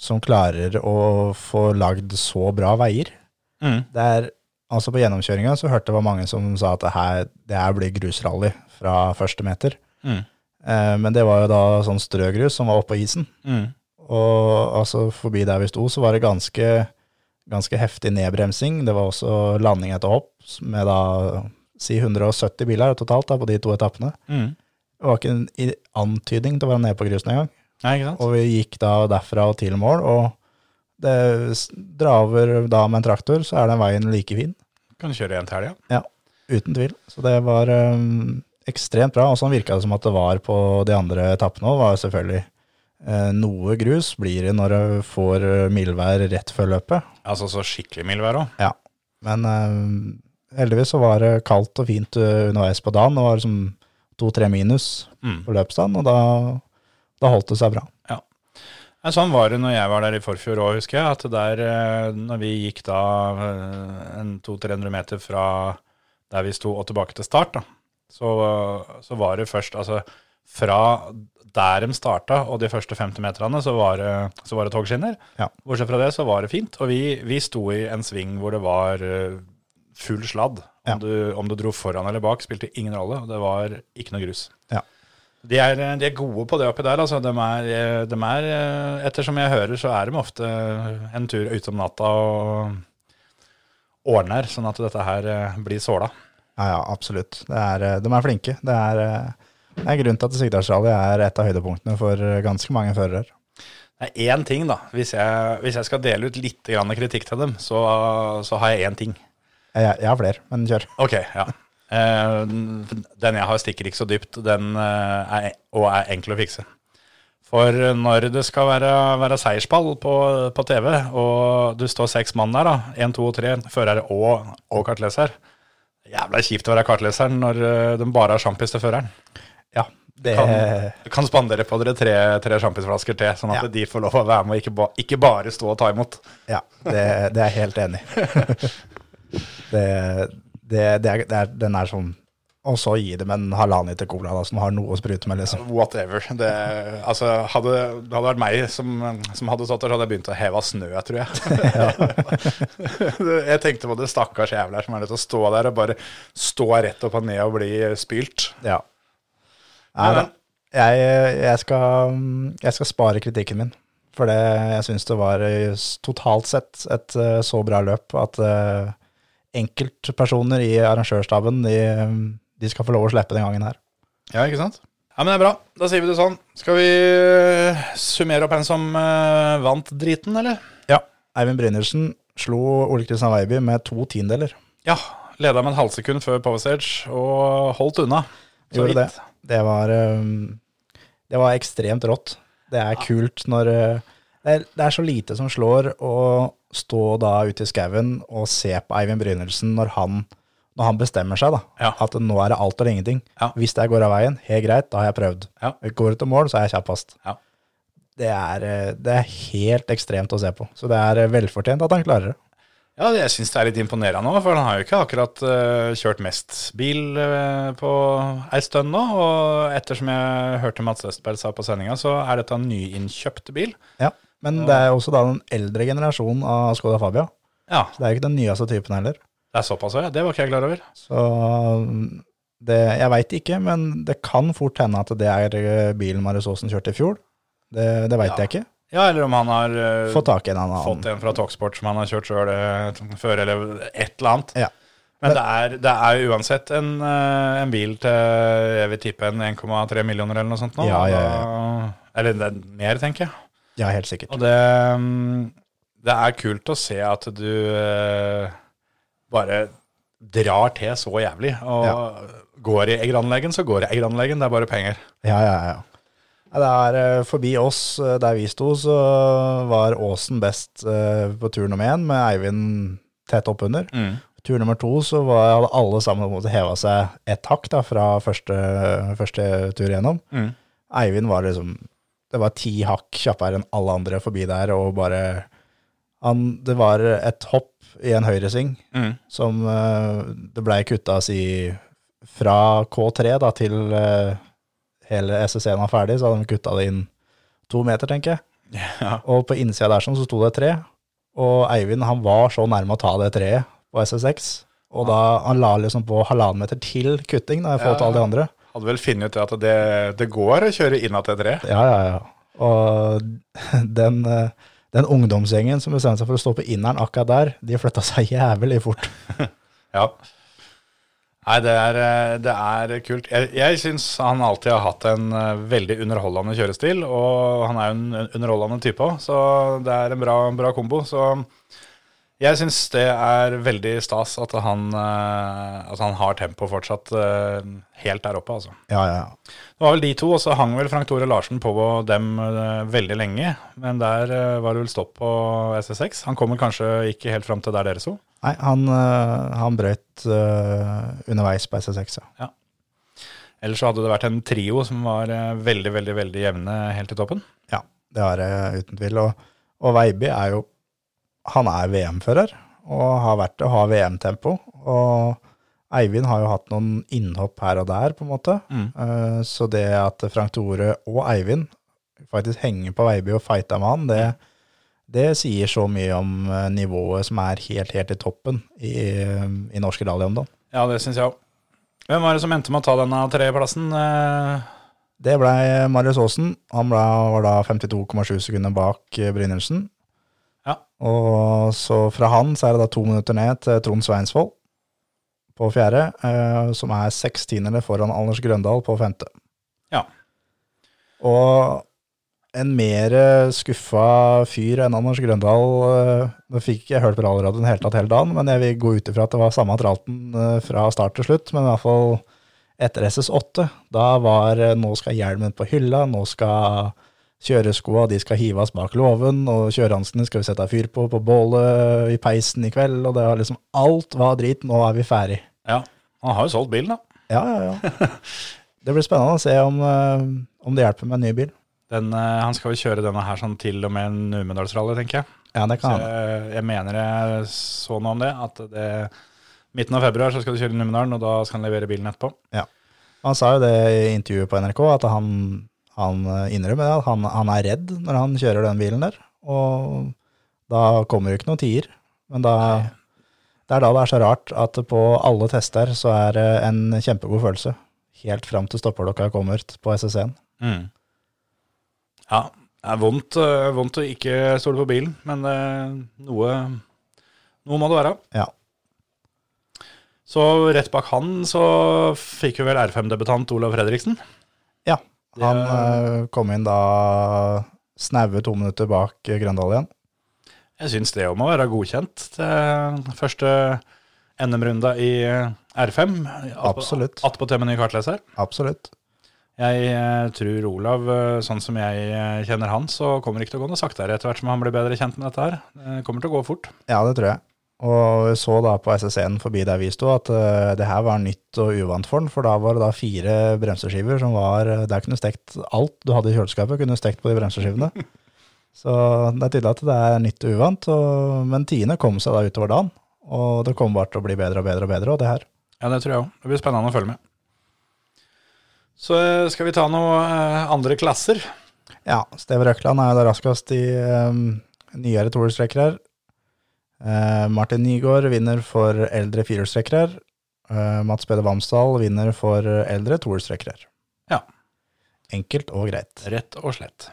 S4: som klarer å få lagd så bra veier
S1: Mm.
S4: det er, altså På gjennomkjøringa så hørte jeg det var mange som sa at det her, det her blir grusrally fra første meter.
S1: Mm.
S4: Eh, men det var jo da sånn strøgrus som var oppå isen.
S1: Mm.
S4: Og altså forbi der vi sto, så var det ganske, ganske heftig nedbremsing. Det var også landing etter hopp med da si 170 biler totalt da, på de to etappene.
S1: Mm.
S4: Det var ikke en i- antydning til å være nede på grusen engang.
S1: Nei, ikke sant?
S4: Og vi gikk da derfra og til mål, og det s- drar over da med en traktor, så er den veien like fin.
S1: Kan kjøre igjen til helga.
S4: Ja, uten tvil. Så det var øhm, ekstremt bra. Og sånn virka det som at det var på de andre etappene òg, var selvfølgelig eh, noe grus blir det når du får eh, mildvær rett før løpet.
S1: Altså så skikkelig mildvær òg.
S4: Ja. Men øhm, heldigvis så var det kaldt og fint eh, underveis på dagen. Det var liksom to-tre minus
S1: Mm.
S4: på løpsdagen, og da, da holdt det seg bra.
S1: Nei, Sånn var det når jeg var der i forfjor òg, husker jeg. At der, eh, når vi gikk da eh, en 200-300 meter fra der vi sto og tilbake til start, da, så, så var det først Altså fra der de starta og de første 50 meterne, så var det, så var det togskinner.
S4: Ja.
S1: Bortsett fra det, så var det fint. Og vi, vi sto i en sving hvor det var eh, full sladd. Om,
S4: Ja.
S1: du, om du dro foran eller bak, spilte ingen rolle. Og det var ikke noe grus.
S4: Ja.
S1: De er, de er gode på det oppi der. altså. De er, de er, ettersom jeg hører, så er de ofte en tur ute om natta og ordner, sånn at dette her eh, blir såla.
S4: Ja, ja, absolutt. Det er, eh, de er flinke. Det er, eh, det er grunnen til at Sigdalsrally er et av høydepunktene for eh, ganske mange førere.
S1: Det er én ting, da. Hvis jeg, hvis jeg skal dele ut litt grann kritikk til dem, så, så har jeg én ting.
S4: Jeg, jeg har flere, men kjør.
S1: Ok, ja. Eh, Den jeg har stikker ikke så dypt, den eh, er, og er enkel å fikse. For når det skal være, være seiersball på, på TV, og du står seks mann der, da, én, to og tre, fører og, og kartleser Jævla kjipt å være kartleseren når eh, de bare har sjampis til føreren.
S4: Ja, det,
S1: Kan, kan spandere på dere tre, tre sjampisflasker til, sånn at
S4: Ja.
S1: de får lov å være med og ikke, ba, ikke bare stå og ta imot.
S4: ja, det, det er jeg helt enig i. det, det, det er, det er, den er sånn Og så gi dem en halvannen liter cola da, som har noe å sprute med, liksom.
S1: Whatever. Det, altså, hadde, det hadde vært meg som, som hadde stått der, så hadde jeg begynt å heve av snø, tror jeg. jeg tenkte på det stakkars jævla som er nødt til å stå der og bare stå rett opp og ned og bli spylt.
S4: Ja. Nei da.
S1: men-
S4: Jeg, jeg, skal, jeg skal spare kritikken min. For det, jeg syns det var eh, s- totalt sett et eh, så bra løp at eh, enkeltpersoner i arrangørstaben de, de skal få lov å slippe den gangen her.
S1: Ja, ikke sant? Ja, men det er bra. Da sier vi det sånn. Skal vi eh, summere opp en som eh, vant driten, eller?
S4: Ja. Eivind Brynildsen slo Ole Kristian Weiby med to tiendeler.
S1: Ja. Leda med en halvsekund før Power Stage og holdt unna. Så
S4: Gjorde det.
S1: vidt.
S4: Det var, um, det var ekstremt rått. Det er kult når uh, det er, det er så lite som slår å stå da ute i skauen og se på Eivind Brynildsen når han, når han bestemmer seg, da.
S1: Ja.
S4: At nå er det alt eller ingenting.
S1: Ja.
S4: Hvis det går av veien, helt greit, da har jeg prøvd.
S1: Ja.
S4: Går det til mål, så er jeg kjappest.
S1: Ja.
S4: Det er, uh, det er helt ekstremt å se på. Så det er uh, velfortjent at han klarer det.
S1: Ja, jeg syns det er litt imponerende òg, for han har jo ikke akkurat eh, kjørt mest bil eh, på ei stund nå. Og ettersom jeg hørte Mats Østberg sa på sendinga, så er dette en nyinnkjøpt bil.
S4: Ja, Men det er jo også da den eldre generasjonen av Skoda Fabia.
S1: Ja,
S4: Det er jo ikke den nyeste typen heller.
S1: det er såpass, ja. Det var ikke jeg klar over.
S4: Så um, det, jeg veit ikke, men det kan fort hende at det er eh, bilen Marius Aasen kjørte i fjor. Det, det veit
S1: Ja.
S4: jeg ikke.
S1: Ja, eller om han har eh,
S4: Få tak i en annen.
S1: fått en fra Talksport som han har kjørt sjøl før, eller et eller annet.
S4: Ja.
S1: Men det er, det er jo uansett en, eh, en bil til jeg vil tippe en 1,3 millioner eller noe sånt nå.
S4: Ja, ja,
S1: Da- Eller det er mer, tenker jeg.
S4: Ja, helt sikkert.
S1: Og det, mm, det er kult å se at du eh, bare drar til så jævlig. Og
S4: Ja.
S1: går i eggeranleggen, så går i eggeranleggen. Det er bare penger.
S4: Ja, ja, ja. Ja, Det er eh, forbi oss, eh, der vi sto, så var Åsen best eh, på tur nummer én, med Eivind tett oppunder.
S1: Mm.
S4: Tur nummer to så var, hadde alle sammen på en måte heva seg ett hakk da, fra første, første tur igjennom.
S1: Mm.
S4: Eivind var liksom Det var ti hakk kjappere enn alle andre forbi der, og bare han, Det var et hopp i en høyresving
S1: Mm.
S4: som eh, det blei kutta si fra K3 da, til eh, hele SSC-en var ferdig, så hadde de kutta det inn to meter, tenker jeg.
S1: Ja.
S4: Og på innsida der sånn, så sto det et tre, og Eivind han var så nærme å ta det treet på SS6. Og da han la liksom på halvannen meter til kutting da, i forhold til alle de andre.
S1: Hadde vel funnet ut at det, det går å kjøre inn til et tre.
S4: Ja, ja, ja. Og den, eh, den ungdomsgjengen som bestemte seg for å stå på inneren akkurat der, de flytta seg jævlig fort.
S1: Ja. Nei, det er, eh, det er kult. Jeg, jeg syns han alltid har hatt en eh, veldig underholdende kjørestil, og han er jo en underholdende type òg, så det er en bra, bra kombo. Så jeg syns det er veldig stas at han, eh, at han har tempo fortsatt eh, helt der oppe, altså.
S4: Ja, ja, ja.
S1: Det var vel de to, og så hang vel Frank Tore Larsen på dem eh, veldig lenge. Men der eh, var det vel stopp på SS6. Han kommer kanskje ikke helt fram til der dere så.
S4: Nei, han, eh, han brøyt eh, underveis på SS6, ja.
S1: Ellers så hadde det vært en trio som var eh, veldig, veldig veldig jevne helt i toppen.
S4: Ja, det er det uten tvil. Og, og Veiby er jo Han er VM-fører, og har vært det, og har VM-tempo. Og Eivind har jo hatt noen innhopp her og der, på en måte.
S1: Mm.
S4: Eh, Så det at Frank Tore og Eivind faktisk henger på Veiby og fighter med han, det, det sier så mye om eh, nivået som er helt, helt i toppen i, i norsk rally om dagen.
S1: Ja, det syns jeg òg. Hvem var det som endte med å ta denne tredjeplassen? Eh,
S4: Det blei Marius Aasen. Han ble, var da 52,7 sekunder bak eh, Brynildsen.
S1: Ja.
S4: Og så fra han så er det da to minutter ned til Trond Sveinsvold på fjerde, eh, som er seks tiendere foran Anders Grøndal på femte.
S1: Ja.
S4: Og en mer eh, skuffa fyr enn Anders Grøndal eh, Nå fikk ikke jeg hørt på rallyradioen hele tatt hele dagen, men jeg vil gå ut ifra at det var samme tralten eh, fra start til slutt, men i hvert fall etter SS8. Da var eh, nå skal hjelmen på hylla, nå skal kjøreskoa de skal hives bak låven, og kjørehansene skal vi sette fyr på på bålet eh, i peisen i kveld, og det var liksom alt var drit, nå er vi ferdig.
S1: ja, han har jo solgt bilen, da.
S4: Ja, ja, ja. Det blir spennende å se om, eh, om det hjelper med en ny bil.
S1: Den, eh, han skal jo kjøre denne her sånn til og med Numedalsrally, tenker jeg.
S4: Ja, det
S1: Så
S4: kan hende.
S1: jeg, jeg mener jeg så noe om det, at det midten av februar så skal du kjøre i Numedalen, og da skal han levere bilen etterpå.
S4: Han sa jo det i intervjuet på NRK, at han, han eh, innrømmer det, at han, han er redd når han kjører den bilen der. Og da kommer jo ikke noen tier. Men da, det er da det er så rart at på alle tester så er det en kjempegod følelse. Helt fram til stoppeklokka kommer på SSN.
S1: Mm. Ja, det er vondt, eh, vondt å ikke stole på bilen, men eh, noe, noe må det være.
S4: Ja.
S1: Så rett bak han så fikk vi vel R5-debutant Olav Fredriksen.
S4: ja.
S1: Det-
S4: Han eh, kom inn da snaue to minutter bak eh, Grøndal igjen.
S1: Jeg syns det òg må være godkjent til første NM-runda i R5.
S4: Absolutt.
S1: Attpåtil med ny kartleser.
S4: Absolutt.
S1: Jeg eh, tror Olav, eh, sånn som jeg eh, kjenner han, så kommer det ikke til å gå noe saktere etter hvert som han blir bedre kjent med dette her. Det kommer til å gå fort.
S4: Ja, det tror jeg. Og vi så da på SSN forbi der vi sto at eh, det her var nytt og uvant for den, for da var det da fire bremseskiver som var eh, Der kunne du stekt alt du hadde i kjøleskapet, kunne du stekt på de bremseskivene. Så det er tydelig at det er nytt og uvant, og, men tiende kom seg da utover dagen. Og det kommer bare til å bli bedre og bedre og bedre, og det her.
S1: Ja, det tror jeg òg. Det blir spennende å følge med. Så eh, skal vi ta noen eh, andre klasser.
S4: Ja, Steve Røkland er jo da raskest i um, nyere tohjulstrekkere. her. Eh, Martin Nygaard vinner for eldre firehjulstrekkere. her. Eh, Mats Peder Vamsdal vinner for eldre tohjulstrekkere. her.
S1: Ja.
S4: Enkelt og greit.
S1: Rett og slett.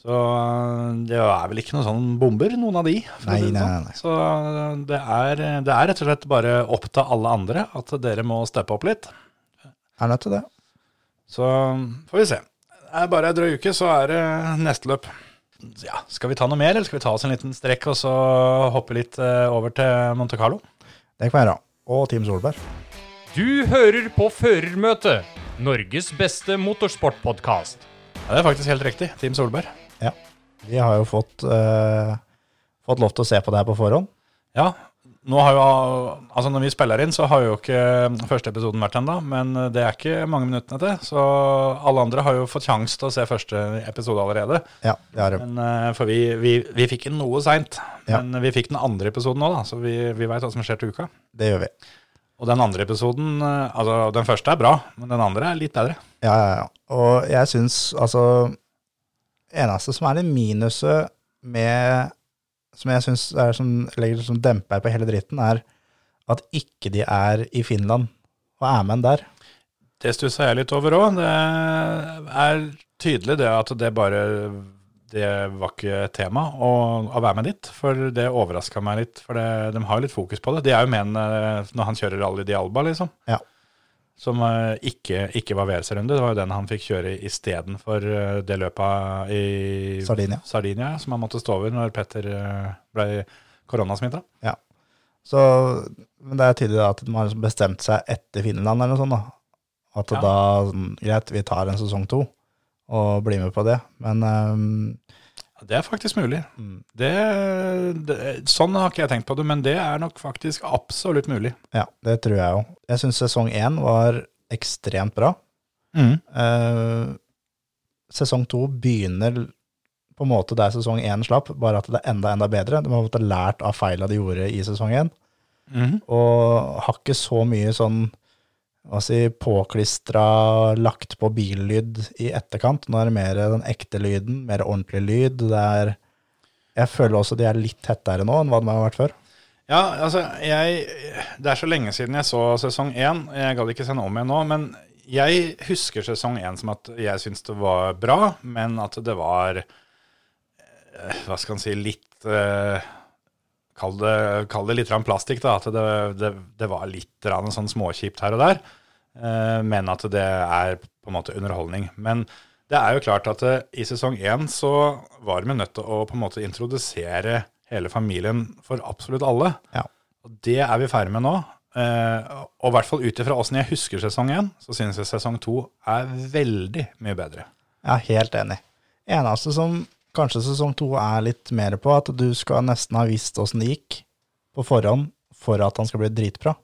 S1: Så eh, det er vel ikke noen sånn bomber, noen av de. for å si
S4: Nei,
S1: det
S4: nei,
S1: sånn.
S4: nei.
S1: Så eh, det er, det er rett og slett bare opp til alle andre at dere må steppe opp litt.
S4: Er nødt til det.
S1: Så eh, får vi se. Det er bare ei drøy uke, så er det neste løp. Ja, skal vi ta noe mer, eller skal vi ta oss en liten strekk og så hoppe litt eh, over til Monte Carlo?
S4: Det kan være. Og Team Solberg.
S5: Du hører på Førermøtet, Norges beste motorsportpodkast.
S1: Ja, det er faktisk helt riktig. Team Solberg.
S4: Ja. Vi har jo fått, eh, fått lov til å se på det her på forhånd.
S1: Ja, nå har jo, altså når vi spiller inn, så har jo ikke første episoden vært ennå, men det er ikke mange minuttene til. Så alle andre har jo fått sjanse til å se første episode allerede.
S4: Ja, det har det.
S1: Men, eh, for vi, vi, vi fikk den noe seint,
S4: Ja.
S1: men vi fikk den andre episoden nå, da, så vi, vi veit hva som skjer til uka.
S4: Det gjør vi.
S1: Og den andre episoden, eh, altså den første er bra, men den andre er litt bedre.
S4: Ja, ja, ja. Og jeg syns altså Eneste som er det minuset med Som jeg syns er som, legger som demper på hele dritten, er at ikke de er i Finland og er med der.
S1: Det stussa jeg litt over òg. Det er tydelig det at det bare Det var ikke tema å, å være med dit, for det overraska meg litt. For det, de har jo litt fokus på det. De er jo med en, eh, når han kjører rally di Alba, liksom.
S4: Ja.
S1: Som eh, ikke, ikke var VRC-runde. Det var jo den han fikk kjøre istedenfor eh, det løpet i
S4: Sardinia.
S1: Sardinia, som han måtte stå over når Petter eh, ble koronasmitta.
S4: Så men det er tydelig at de har liksom bestemt seg etter Finland eller noe sånt. da. At
S1: Ja.
S4: da sånn, Greit, vi tar en sesong to og blir med på det. Men ehm,
S1: Det er faktisk mulig.
S4: Mm.
S1: Det, det, sånn har ikke jeg tenkt på det, men det er nok faktisk absolutt mulig.
S4: ja, det tror jeg jo. Jeg syns sesong én var ekstremt bra. Eh, sesong to begynner på en måte der sesong én slapp, bare at det er enda, enda bedre. De har på en måte lært av feila de gjorde i sesong én,
S1: Mhm.
S4: og har ikke så mye sånn hva si, påklistra, lagt på billyd i etterkant. Nå er det mer den ekte lyden, mer ordentlig lyd. Det er Jeg føler også de er litt tettere nå enn hva de har vært før.
S1: Ja, altså, jeg, det er så lenge siden jeg så sesong én. Jeg gadd ikke se den om igjen nå, men jeg husker sesong én som at jeg syntes det var bra, men at det var eh, Hva skal en si litt eh, Kall det, kall det litt rann plastikk, da. At det, det, det var litt rann sånn småkjipt her og der. eh, Men at det er på en måte underholdning. Men det er jo klart at eh, i sesong én så var vi nødt til å på en måte introdusere hele familien for absolutt alle.
S4: Ja.
S1: Og det er vi ferdig med nå. Eh, og i hvert fall ut ifra åssen jeg husker sesong én, så syns jeg sesong to er veldig mye bedre.
S4: Jeg er helt enig. Eneste som kanskje sesong to er litt mer på, at du skal nesten ha visst åssen det gikk på forhånd for at han skal bli dritbra.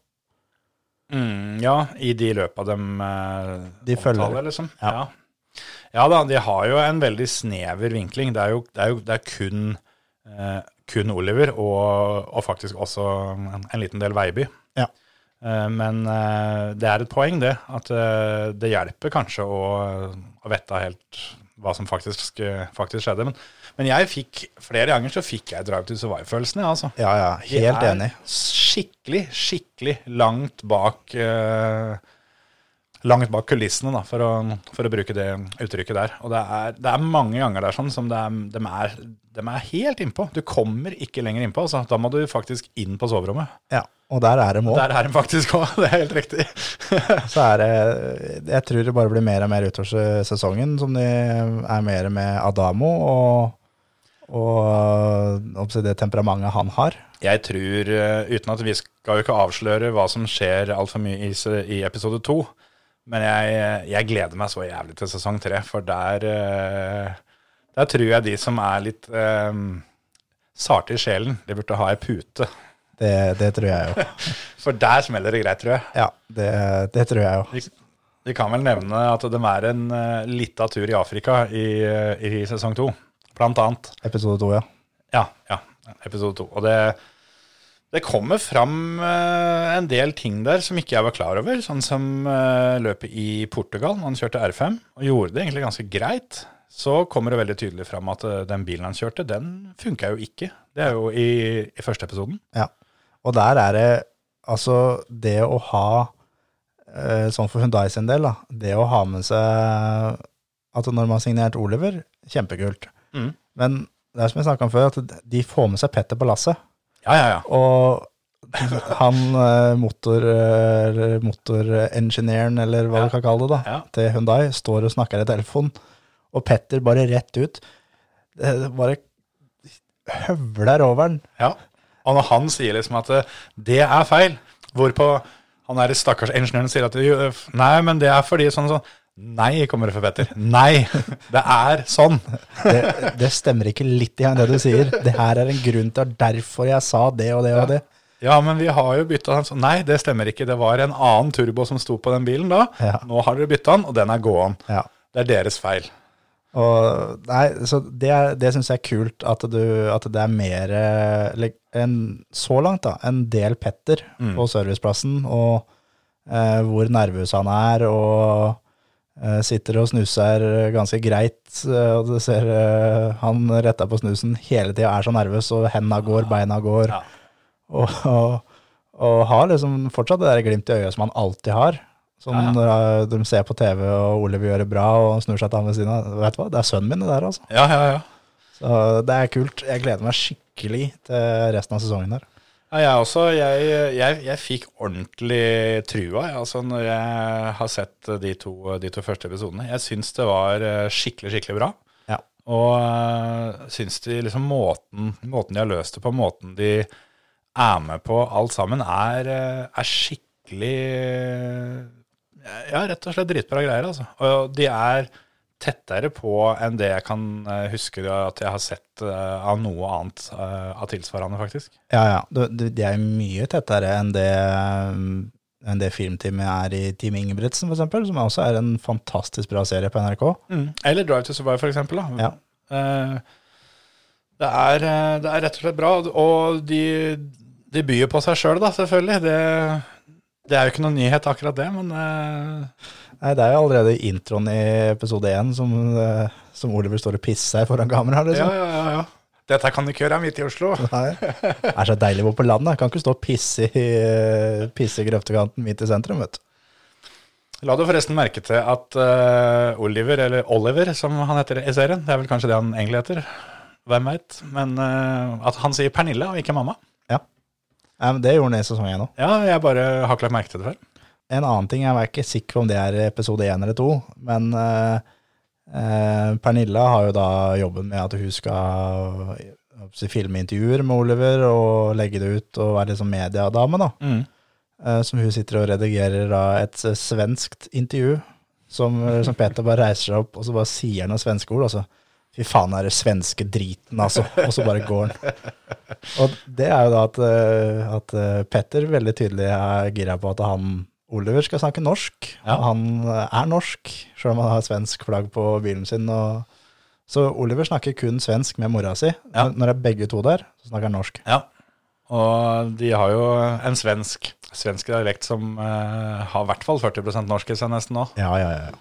S1: Mm, ja, i de løpa de eh,
S4: De følger.
S1: liksom.
S4: Ja.
S1: Ja. ja da, de har jo en veldig snever vinkling. Det er jo, det er jo det er kun, eh, kun Oliver, og, og faktisk også en, en liten del Veiby.
S4: Ja.
S1: Eh, men eh, det er et poeng, det. At eh, det hjelper kanskje å, å vite helt hva som faktisk, faktisk skjedde. Men, men jeg fikk flere ganger så fikk jeg Drive to Survive-følelsen, jeg, altså.
S4: Ja, ja,
S1: De
S4: helt
S1: er
S4: enig.
S1: Skikkelig, skikkelig langt bak eh, Langt bak kulissene, da, for å, for å bruke det uttrykket der. Og det er, det er mange ganger der sånn som det er, de, er, de er helt innpå. Du kommer ikke lenger innpå. Altså. Da må du faktisk inn på soverommet.
S4: Ja, og der er det mål.
S1: Der er de faktisk òg, det er helt riktig.
S4: Så er det Jeg tror det bare blir mer og mer utover se- sesongen som de er mer med Adamo og, og øh, oppsi det temperamentet han har.
S1: Jeg tror, eh, uten at vi skal jo ikke avsløre hva som skjer altfor mye i, se- i episode to, men jeg, eh, jeg gleder meg så jævlig til sesong tre, for der eh, Der tror jeg de som er litt eh, sarte i sjelen, de burde ha ei pute.
S4: Det, det tror jeg jo.
S1: For der smeller det greit, tror jeg.
S4: Ja, det, det tror jeg jo.
S1: Vi, vi kan vel nevne at de er en eh, lita tur i Afrika i, eh, i sesong to. blant annet.
S4: Episode to, ja.
S1: Ja, ja. Episode to. Og det, det kommer fram eh, en del ting der som ikke jeg var klar over. Sånn som eh, løpet i Portugal, når han kjørte R5, og gjorde det egentlig ganske greit. Så kommer det veldig tydelig fram at eh, den bilen han kjørte, den funka jo ikke. Det er jo i, i første episoden.
S4: Ja. Og der er det Altså, det å ha eh, Sånn for Hundai sin del, da. Det å ha med seg at når man har signert Oliver, kjempekult.
S1: Mm.
S4: Men det er som jeg snakka om før, at de får med seg Petter på lasset.
S1: Ja, ja, ja.
S4: Og han eh, motor, eh, eller motorengineeren, eller hva
S1: Ja.
S4: du kan kalle det, da,
S1: Ja.
S4: til Hyundai, står og snakker i telefonen, og Petter bare rett ut eh, Bare høvler over den.
S1: Ja. Og når han sier liksom at eh, det er feil, hvorpå han er stakkars ingeniøren sier at jo, eh, f- nei, men det er fordi sånn sånn. Nei, kommer det fra Petter. Nei, det er sånn.
S4: Det, det stemmer ikke litt igjen, det du sier. Det her er en grunn til at derfor jeg sa det og det og det.
S1: Ja, men vi har jo bytta den. Så Nei, det stemmer ikke. Det var en annen turbo som sto på den bilen da.
S4: Ja.
S1: Nå har dere bytta den, og den er gåen.
S4: Ja.
S1: Det er deres feil.
S4: Og, nei, så det, er- det syns jeg er kult, at, du, at det er mer eh, eller en, Så langt, da, en del Petter
S1: Mm.
S4: på serviceplassen, og eh, hvor nervøs han er, og eh, sitter og snuser ganske greit, eh, og du ser eh, han retter på snusen hele tida, er så nervøs, og henda går, beina går,
S1: Ja.
S4: og, og, og har liksom fortsatt det der glimt i øyet som han alltid har. Som
S1: Ja, ja.
S4: når eh, de ser på TV, og Ole vil gjøre det bra, og han snur seg til han ved siden av. Vet du hva, det er sønnen min, det der, altså.
S1: Ja, ja, ja.
S4: Så det er kult. Jeg gleder meg skikkelig til resten av sesongen her.
S1: Ja, jeg også. Jeg, jeg, jeg fikk ordentlig trua jeg, altså, når jeg har sett de to, de to første episodene. Jeg syns det var eh, skikkelig, skikkelig bra.
S4: Ja.
S1: Og uh, syns de liksom måten, måten de har løst det på, måten de er med på alt sammen, er, eh, er skikkelig eh, Ja, rett og slett dritbra greier, altså. Og de er tettere på enn det jeg kan eh, huske at jeg har sett eh, av noe annet eh, av tilsvarende, faktisk.
S4: Ja, ja. Du- du- De er jo mye tettere enn det, um, enn det filmteamet er i Team Ingebrigtsen, for eksempel, som også er en fantastisk bra serie på NRK.
S1: Mm. Eller Drive to Survive, for eksempel. Da.
S4: Ja.
S1: Eh, det, er, eh, det er rett og slett bra, og de, de byr på seg sjøl, da, selvfølgelig. Det, det er jo ikke noen nyhet, akkurat det, men eh,
S4: Nei, det er jo allerede i introen i episode én som, eh, som Oliver står og pisser seg foran kamera,
S1: ja,
S4: liksom.
S1: ja, ja, ja. Dette kan du ikke gjøre midt i Oslo.
S4: Nei. Det er så deilig å bo på landet. Kan ikke stå og pisse i, eh, pisse i grøftekanten midt i sentrum, vet du.
S1: La du forresten merke til at eh, Oliver, eller Oliver som han heter i serien, det er vel kanskje det han egentlig heter, hvem veit, men eh, at han sier Pernille og ikke mamma.
S4: Nei, men Det gjorde han i sesong én òg.
S1: Ja, jeg bare har ikke lagt merke til det før.
S4: En annen ting, jeg er ikke sikker på om det er i episode én eller to, men eh, eh, Pernilla har jo da jobben med at hun skal eh, si, filme intervjuer med Oliver og legge det ut og være liksom mediedame, da. Eh, som hun sitter og redigerer da et eh, svenskt intervju, som, eh, som Peter bare reiser seg opp, og så bare sier han noen svenske ord, altså. Fy faen, er det svenske driten, altså. Og så bare går han. Og det er jo da at, eh, at eh, Petter veldig tydelig er gira på at han Oliver skal snakke norsk.
S1: Ja.
S4: og Han eh, er norsk, sjøl om han har svensk flagg på bilen sin. Og så Oliver snakker kun svensk med mora si.
S1: Ja.
S4: Når det er begge to der, så snakker han norsk.
S1: Ja, og de har jo en svensk, svensk dialekt som eh, har i hvert fall 40 norsk i seg nesten nå.
S4: Ja, ja, ja.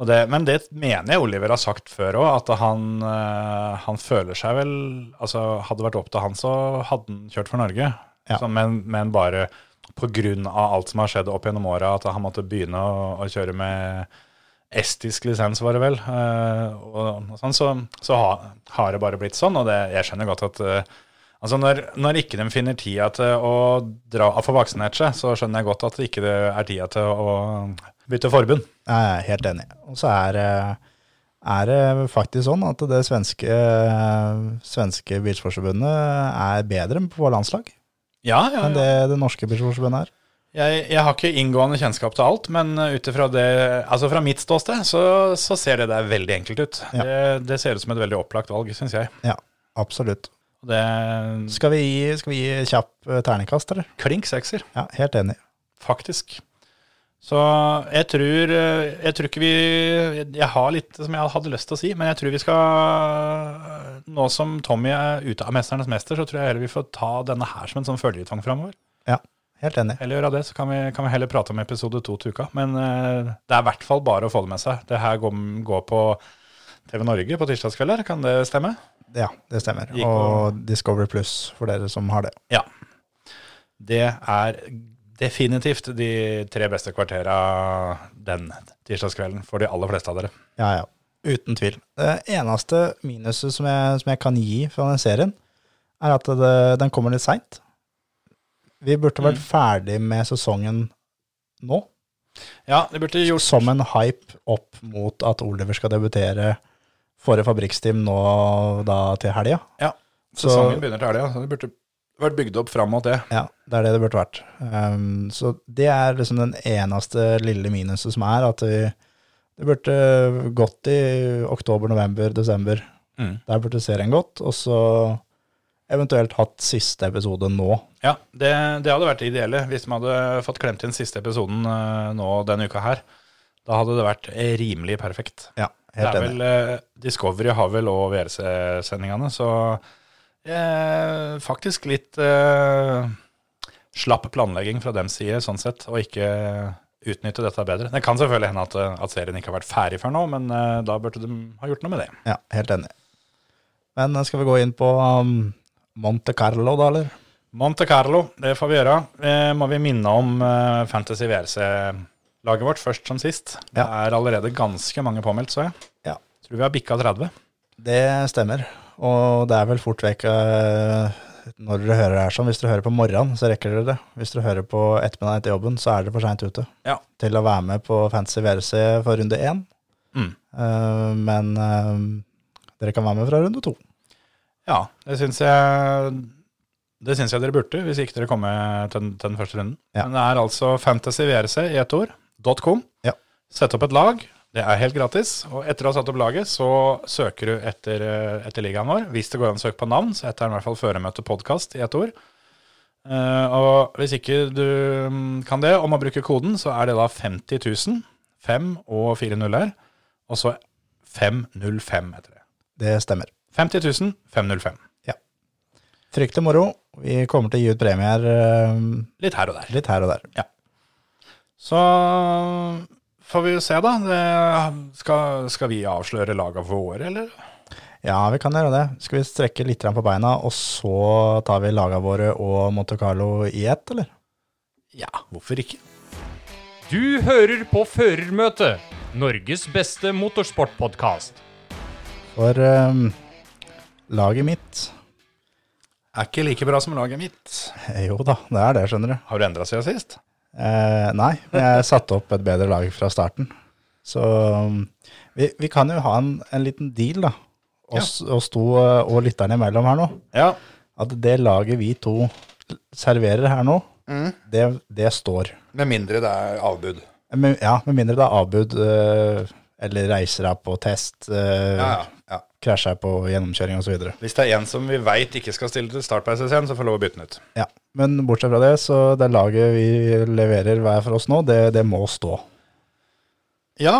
S1: Og det, men det mener jeg Oliver har sagt før òg, at han, eh, han føler seg vel Altså hadde det vært opp til han, så hadde han kjørt for Norge.
S4: Ja.
S1: Så, men, men bare pga. alt som har skjedd opp gjennom åra, at han måtte begynne å, å kjøre med estisk lisens, var det vel. eh, og, og sånn, så så ha, har det bare blitt sånn, og det, jeg skjønner godt at eh, Altså når, når ikke de finner tida til å dra og få vaksinert seg, så skjønner jeg godt at det ikke er tida til å bytte forbund.
S4: Jeg er helt enig. Og så er, det- er det faktisk sånn at det svenske, svenske bilsportsforbundet er bedre enn på landslag
S1: Ja, ja, ja.
S4: enn det det norske bilsportsforbundet er.
S1: Jeg, jeg har ikke inngående kjennskap til alt, men eh, ut ifra det Altså fra mitt ståsted, så, så ser det der veldig enkelt ut.
S4: Ja.
S1: Det, det ser ut som et veldig opplagt valg, syns jeg.
S4: Ja, absolutt.
S1: Og Det
S4: Skal vi gi, skal vi gi kjapp eh, terningkast, eller?
S1: Klink sekser,
S4: Ja, helt enig.
S1: faktisk. Så jeg tror, eh, jeg tror ikke vi Jeg har litt som jeg hadde lyst til å si, men jeg tror vi skal Nå som Tommy er ute av 'Mesternes mester', så tror jeg heller vi får ta denne her som en sånn følgetong framover.
S4: Ja, helt enig.
S1: Eller gjøre det, så kan vi, kan vi heller prate om episode to til uka. Men eh, det er i hvert fall bare å få det med seg. Det her går, går på TV Norge på tirsdagskvelder, kan det stemme?
S4: Ja, det stemmer.
S1: Gikk
S4: Og Discovery Pluss for dere som har det.
S1: Ja. Det er definitivt de tre beste kvartera den tirsdagskvelden for de aller fleste av dere.
S4: Ja, ja. Uten tvil. Det eneste minuset som jeg, som jeg kan gi fra den serien, er at det, den kommer litt seint. Vi burde
S1: Mm.
S4: vært ferdig med sesongen nå,
S1: Ja, de burde gjort
S4: som en hype opp mot at Oliver skal debutere for et fabrikksteam nå da til helga.
S1: Ja,
S4: Så-
S1: sesongen begynner til helga, så det burde vært bygd opp fram mot det.
S4: Ja, det er det det burde vært. Ehm, så det er liksom den eneste lille minuset som er, at vi, det burde gått i oktober, november, desember.
S1: Mm.
S4: Der burde serien gått, og så eventuelt hatt siste episode nå.
S1: Ja, det, det hadde vært det ideelle hvis man hadde fått klemt inn siste episoden eh, nå denne uka her. Da hadde det vært eh, rimelig perfekt.
S4: Ja,
S1: Det
S4: helt
S1: er
S4: enig.
S1: vel, eh, Discovery har vel òg VRC-sendingene, så eh, faktisk litt eh, slapp planlegging fra dems side, sånn sett, og ikke utnytte dette bedre. Det kan selvfølgelig hende at, eh, at serien ikke har vært ferdig før nå, men eh, da burde de ha gjort noe med det.
S4: Ja, helt enig. Men eh, skal vi gå inn på um, Monte Carlo, da, eller?
S1: Monte Carlo, det får vi gjøre. Eh, må vi minne om eh, Fantasy VRC-laget vårt først som sist. Det
S4: Ja.
S1: er allerede ganske mange påmeldt, så jeg.
S4: Ja.
S1: Tror vi har bikka 30.
S4: Det stemmer. Og det er vel fort vekk eh, når dere hører det her sånn. Hvis dere hører på morgenen, så rekker dere det. Hvis dere hører på ettermiddagen etter jobben, så er dere for seint ute
S1: Ja.
S4: til å være med på Fantasy VRC for runde én.
S1: Mm.
S4: Eh, men eh, dere kan være med fra runde to.
S1: Ja, det syns jeg Det syns jeg dere burde, hvis ikke dere kommer til den, til den første runden.
S4: Ja.
S1: Men det er altså Fantasy VRC i ett ord. .com.
S4: Ja.
S1: Sett opp et lag. Det er helt gratis. Og etter å ha satt opp laget, så søker du etter, eh, etter ligaen vår. Hvis det går an å søke på navn, så heter den i hvert fall Føremøte podkast i ett ord. Eh, og hvis ikke du mm, kan det, om å bruke koden, så er det da 50 000. 5 og 4 nuller. Og så 505 heter det.
S4: Det stemmer.
S1: 50 000, 505.
S4: Fryktelig moro. Vi kommer til å gi ut premier eh,
S1: Litt her og der.
S4: litt her og der.
S1: Så får vi jo se, da. Det, skal, skal vi avsløre laga våre, eller?
S4: Ja, vi kan gjøre det. Skal vi strekke litt grann på beina, og så tar vi laga våre og Monte Carlo i ett, eller?
S1: Ja, hvorfor ikke?
S5: Du hører på Førermøtet, Norges beste motorsportpodkast.
S4: For eh, laget mitt
S1: Er ikke like bra som laget mitt.
S4: eh, Jo da, det er det, skjønner du.
S1: Har du endra siden sist?
S4: Eh, nei, men jeg satte opp et bedre lag fra starten. Så um, vi, vi kan jo ha en, en liten deal, da. Oss, oss to eh, og lytterne imellom her nå.
S1: Ja.
S4: At det laget vi to serverer her nå, det, det står.
S1: Med mindre det er avbud.
S4: Men, ja, med mindre det er avbud eh, eller reiser deg på test, eh, krasjer deg på gjennomkjøring osv.
S1: Hvis det er en som vi veit ikke skal stille til start på SSN, så får vi lov å bytte den ut.
S4: Ja. Men bortsett fra det, så det laget vi leverer hver for oss nå, det, det må stå.
S1: Ja,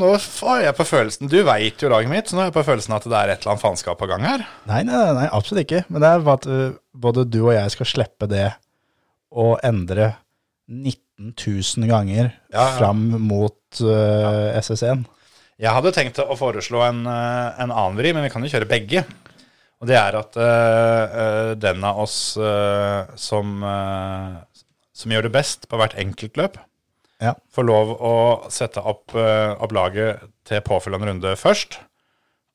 S1: nå får jeg på følelsen Du veit jo laget mitt, så nå er jeg på følelsen at det er et eller annet faenskap på gang her.
S4: Nei, nei, nei, nei, absolutt ikke. Men det er bare at ø, både du og jeg skal slippe det å endre 19 000 ganger
S1: Ja, ja.
S4: fram mot eh, ø, SS1.
S1: Jeg hadde tenkt å foreslå en, eh, en annen vri, men vi kan jo kjøre begge. Og det er at eh, eh, den av oss eh, som, eh, som gjør det best på hvert enkeltløp,
S4: Ja.
S1: får lov å sette opp, eh, opp laget til påfølgende runde først.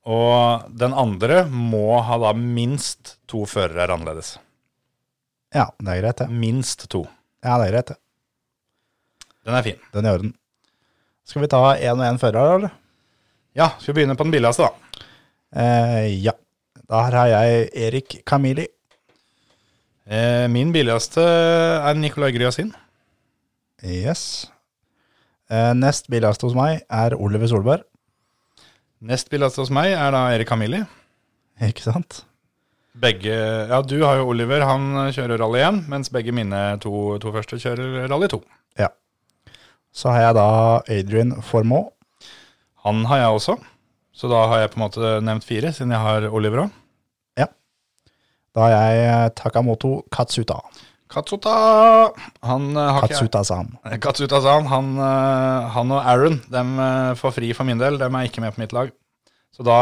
S1: Og den andre må ha da minst to førere annerledes.
S4: ja, det er greit, det.
S1: Minst to.
S4: Ja, det er greit, det.
S1: Den er fin.
S4: Den er i orden. Skal vi ta én og én fører, eller?
S1: Ja, skal vi begynne på den billigste, da?
S4: Eh, ja. Der har jeg Erik Kamili.
S1: Eh, min billigste er Nicolai Gryasin.
S4: Yes. Eh, nest billigste hos meg er Oliver Solberg.
S1: Nest billigste hos meg er da Erik Hamili.
S4: Ikke sant?
S1: Begge, ja Du har jo Oliver, han kjører rally 1, mens begge mine to, to første kjører rally 2.
S4: Ja. Så har jeg da Adrian Formoe.
S1: Han har jeg også. Så da har jeg på en måte nevnt fire, siden jeg har Olivera.
S4: Da har jeg eh, Takamoto Katsuta.
S1: Katsuta Han eh, har ikke jeg.
S4: Katsuta-san.
S1: Katsuta sa han. Han, eh, han og Aaron dem eh, får fri for min del. Dem er ikke med på mitt lag. Så da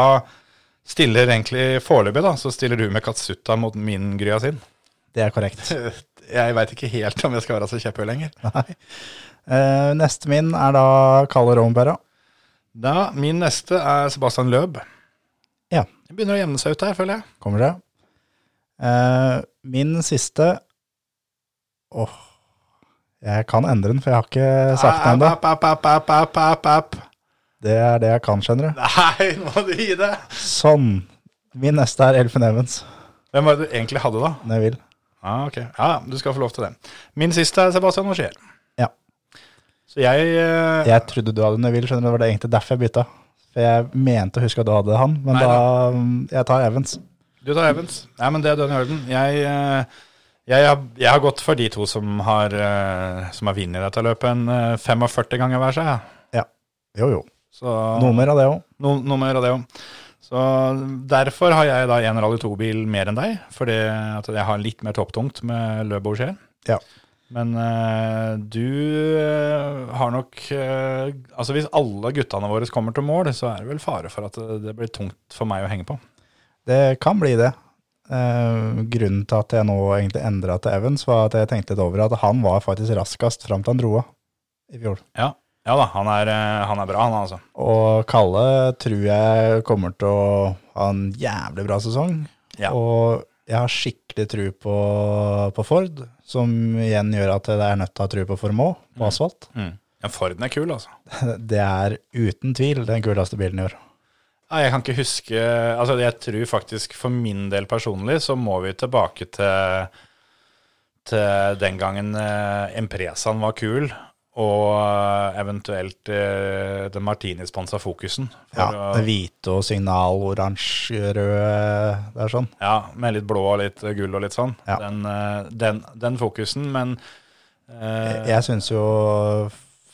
S1: stiller egentlig foreløpig, da, så stiller du med Katsuta mot min Grya sin.
S4: Det er korrekt.
S1: Jeg veit ikke helt om jeg skal være så kjepphøy lenger.
S4: Nei. Eh, neste min er da Kalle Rombera.
S1: Da, min neste er Sebastian Løb.
S4: Ja.
S1: Det begynner å jevne seg ut her, føler jeg.
S4: Kommer det? Eh, min siste Åh, jeg kan endre den, for jeg har ikke sagt den ennå.
S1: App, app, app, app, app, app, app.
S4: Det er det jeg kan, skjønner du.
S1: Nei, nå må du gi det!
S4: Sånn. Min neste er Elfen Evans.
S1: Hvem var det du egentlig hadde, da?
S4: Neville.
S1: Ah, ok. Ja, ja, du skal få lov til det. Min siste er Sebastian Ogier.
S4: Ja.
S1: Så jeg eh,
S4: Jeg trodde du hadde Neville, skjønner du. Det var det egentlig derfor jeg bytta. For jeg mente å huske at du hadde han, men
S1: Nei
S4: da mm, Jeg tar Evans.
S1: Du tar Evans. Nei, men det er dønn i orden. Jeg, eh, jeg, har- jeg har gått for de to som har, eh, som har vunnet dette løpet en eh, 45 ganger hver seg. ja.
S4: Ja. Jo, jo.
S1: Så
S4: Noe mer av det òg.
S1: no, noe mer av det òg. Så derfor har jeg da en Rally 2-bil mer enn deg, fordi at jeg har litt mer topptungt med løp og skjer.
S4: Ja.
S1: Men eh, du eh, har nok eh, Altså hvis alle guttene våre kommer til mål, så er det vel fare for at det, det blir tungt for meg å henge på.
S4: Det kan bli det. Eh, grunnen til at jeg nå egentlig endra til Evans, var at jeg tenkte litt over at han var faktisk raskest fram til han dro av i fjor.
S1: Ja, ja da, han er, eh, han er bra, han altså.
S4: Og Kalle tror jeg kommer til å ha en jævlig bra sesong.
S1: Ja.
S4: Og jeg har skikkelig tro på, på Ford, som igjen gjør at jeg er nødt til å ha tro på Formå på asfalt.
S1: Mm. Ja, Forden er kul, altså.
S4: Det er uten tvil den kuleste bilen i år.
S1: Nei, jeg kan ikke huske Altså, jeg tror faktisk for min del personlig så må vi tilbake til, til den gangen eh, Empresaen var kul, og eh, eventuelt eh, den Martini-sponsa Fokusen. For
S4: Ja,
S1: å-
S4: det hvite og signal, oransje, røde, det er sånn.
S1: ja, med litt blå og litt gull og litt sånn.
S4: Ja.
S1: Den, eh, den, den Fokusen, men eh,
S4: Jeg syns jo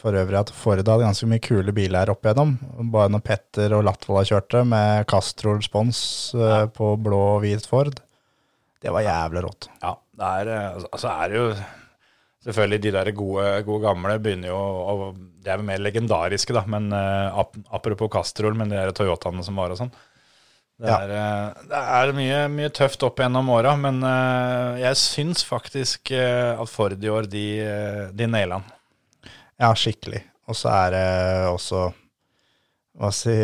S4: for øvrig at Ford hadde ganske mye kule biler her opp igjennom. Bare når Petter og Latvola kjørte med Castro Respons eh, på blå og hvit Ford. Det var jævlig rått.
S1: Ja, det er, eh, altså- altså er det jo Selvfølgelig, de der gode, gode gamle begynner jo å De er vel mer legendariske, da, men eh, ap apropos Castrol, men de der Toyotaene som var og sånn. Det
S4: Ja.
S1: er, eh, det er mye, mye tøft opp gjennom åra, men eh, jeg syns faktisk eh, at Ford i år, de, eh, de naila den.
S4: Ja, skikkelig. Og så er det også Hva si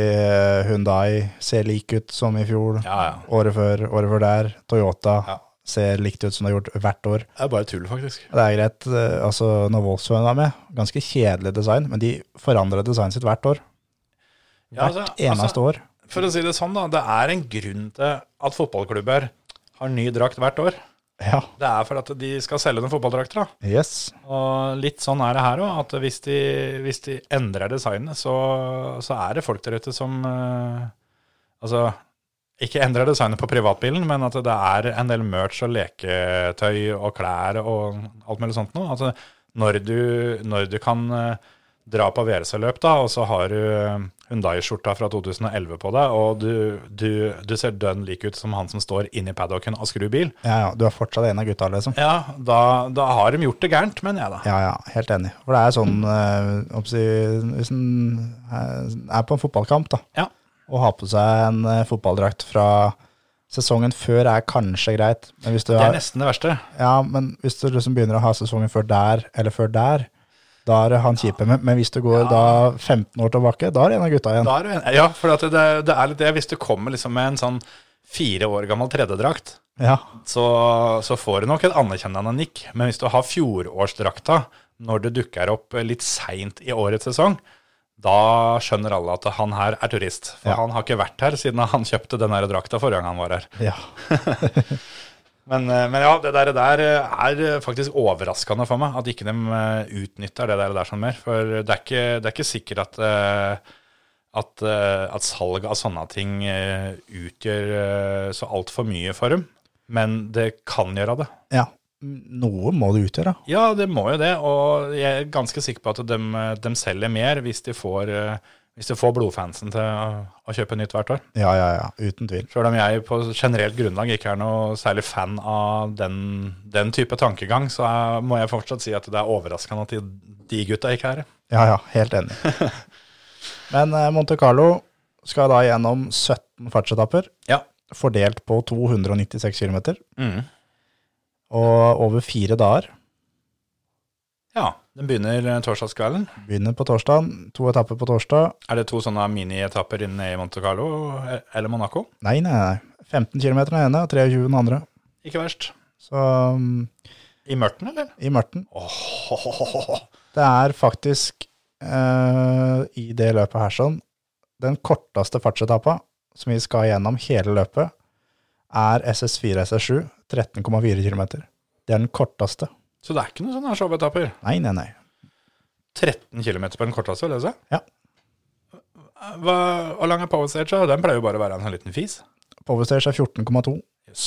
S4: Hundai ser lik ut som i fjor.
S1: Ja, ja.
S4: Året før, året før der. Toyota
S1: Ja.
S4: ser likt ut som det har gjort hvert år.
S1: Det er bare tull, faktisk.
S4: Det er greit. eh, Altså, når Volkswagen var med, ganske kjedelig design, men de forandrer designet sitt hvert år.
S1: Ja,
S4: Hvert
S1: altså,
S4: eneste
S1: altså,
S4: år.
S1: For å si det sånn, da. Det er en grunn til at fotballklubber har ny drakt hvert år.
S4: Ja.
S1: Det er for at de skal selge noen fotballdrakter, da.
S4: Yes.
S1: Og litt sånn er det her òg, at hvis de, hvis de endrer designet, så, så er det folk der ute som eh, Altså, ikke endrer designet på privatbilen, men at det er en del merch og leketøy og klær og alt mulig sånt noe. Altså, når du, når du kan eh, dra på VRC-løp, da, og så har du Hundai-skjorta fra 2011 på deg, og du, du, du ser dønn lik ut som han som står inne i paddocken og skrur bil,
S4: Ja, ja, du er fortsatt en av gutta, liksom.
S1: ja, da, da har de gjort det gærent, mener jeg da.
S4: Ja, ja, helt enig. For det er sånn, eh, oppsi, hvis en eh, er på en fotballkamp da,
S1: Ja.
S4: og har på seg en eh, fotballdrakt fra sesongen før er kanskje greit, men hvis du,
S1: Det er
S4: har,
S1: nesten det verste.
S4: ja, men hvis du liksom begynner å ha sesongen før der, eller før der, da er det han kjipe, men, men hvis du går da 15 år tilbake, da er det en av gutta igjen.
S1: Da er du en- ja, for at det, det er litt det. Hvis du kommer liksom med en sånn fire år gammel tredjedrakt,
S4: Ja,
S1: så, så får du nok et anerkjennende nikk. Men hvis du har fjorårsdrakta når det dukker opp litt seint i årets sesong, da skjønner alle at han her er turist. For
S4: Ja.
S1: han har ikke vært her siden han kjøpte den her drakta forrige gang han var her.
S4: ja.
S1: Men, eh, men ja, det der, der eh, er faktisk overraskende for meg, at ikke de eh, utnytter det der, der sånn mer. For det er ikke, det er ikke sikkert at, eh, at, eh, at salg av sånne ting eh, utgjør eh, så altfor mye for dem. Men det kan gjøre det.
S4: Ja, Noe må det utgjøre.
S1: Ja, det må jo det, og jeg er ganske sikker på at de, de selger mer hvis de får, eh, hvis de får blodfansen til å, å kjøpe nytt hvert år.
S4: Ja, ja, ja. Uten tvil.
S1: Sjøl om jeg på generelt grunnlag ikke er noe særlig fan av den, den type tankegang, så er- må jeg fortsatt si at det er overraskende at de, de gutta ikke er det.
S4: Ja, ja. Helt enig. Men eh, Monte Carlo skal da gjennom 17 fartsetapper,
S1: Ja.
S4: fordelt på 296 km,
S1: Mm.
S4: og over fire dager.
S1: Ja, Den begynner torsdagskvelden.
S4: Begynner på torsdag, to etapper på torsdag.
S1: Er det to sånne minietapper inne i Monte Carlo eh, eller Monaco?
S4: Nei, nei, nei. 15 km den ene og 23 den andre.
S1: Ikke verst.
S4: Så um,
S1: I mørten, eller?
S4: i mørten.
S1: Åh,
S4: Det er faktisk eh, i det løpet her sånn Den korteste fartsetappa som vi skal gjennom hele løpet, er SS4 SS7, 13,4 km. Det er den korteste.
S1: Så det er ikke noen sånne showetapper?
S4: Nei, nei, nei.
S1: 13 km på den korteste, vil jeg si?
S4: Ja.
S1: Hva, hvor lang er power stage? da? Den pleier jo bare å være en sånn liten fis.
S4: Powerstage er 14,2.
S1: Jøss.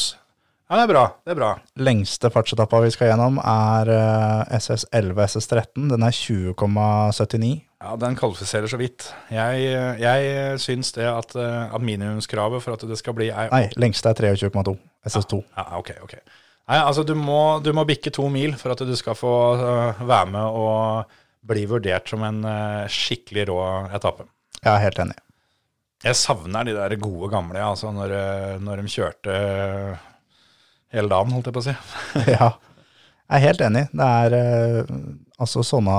S1: Ja, det er bra. Det er bra.
S4: Lengste fartsetappa vi skal gjennom, er eh, SS11 SS13. Den er 20,79.
S1: Ja, den kvalifiserer så vidt. Jeg, jeg syns det at, eh, at minimumskravet for at det skal bli er,
S4: Nei, lengste er 23,2. SS2.
S1: Ja, ok, ok. Nei, altså du må, du må bikke to mil for at du skal få eh, være med og bli vurdert som en eh, skikkelig rå etappe.
S4: Jeg er helt enig.
S1: Jeg savner de der gode gamle, altså, når, eh, når de kjørte eh, hele dagen, holdt jeg på å si.
S4: Ja, jeg er helt enig. Det er eh, altså sånne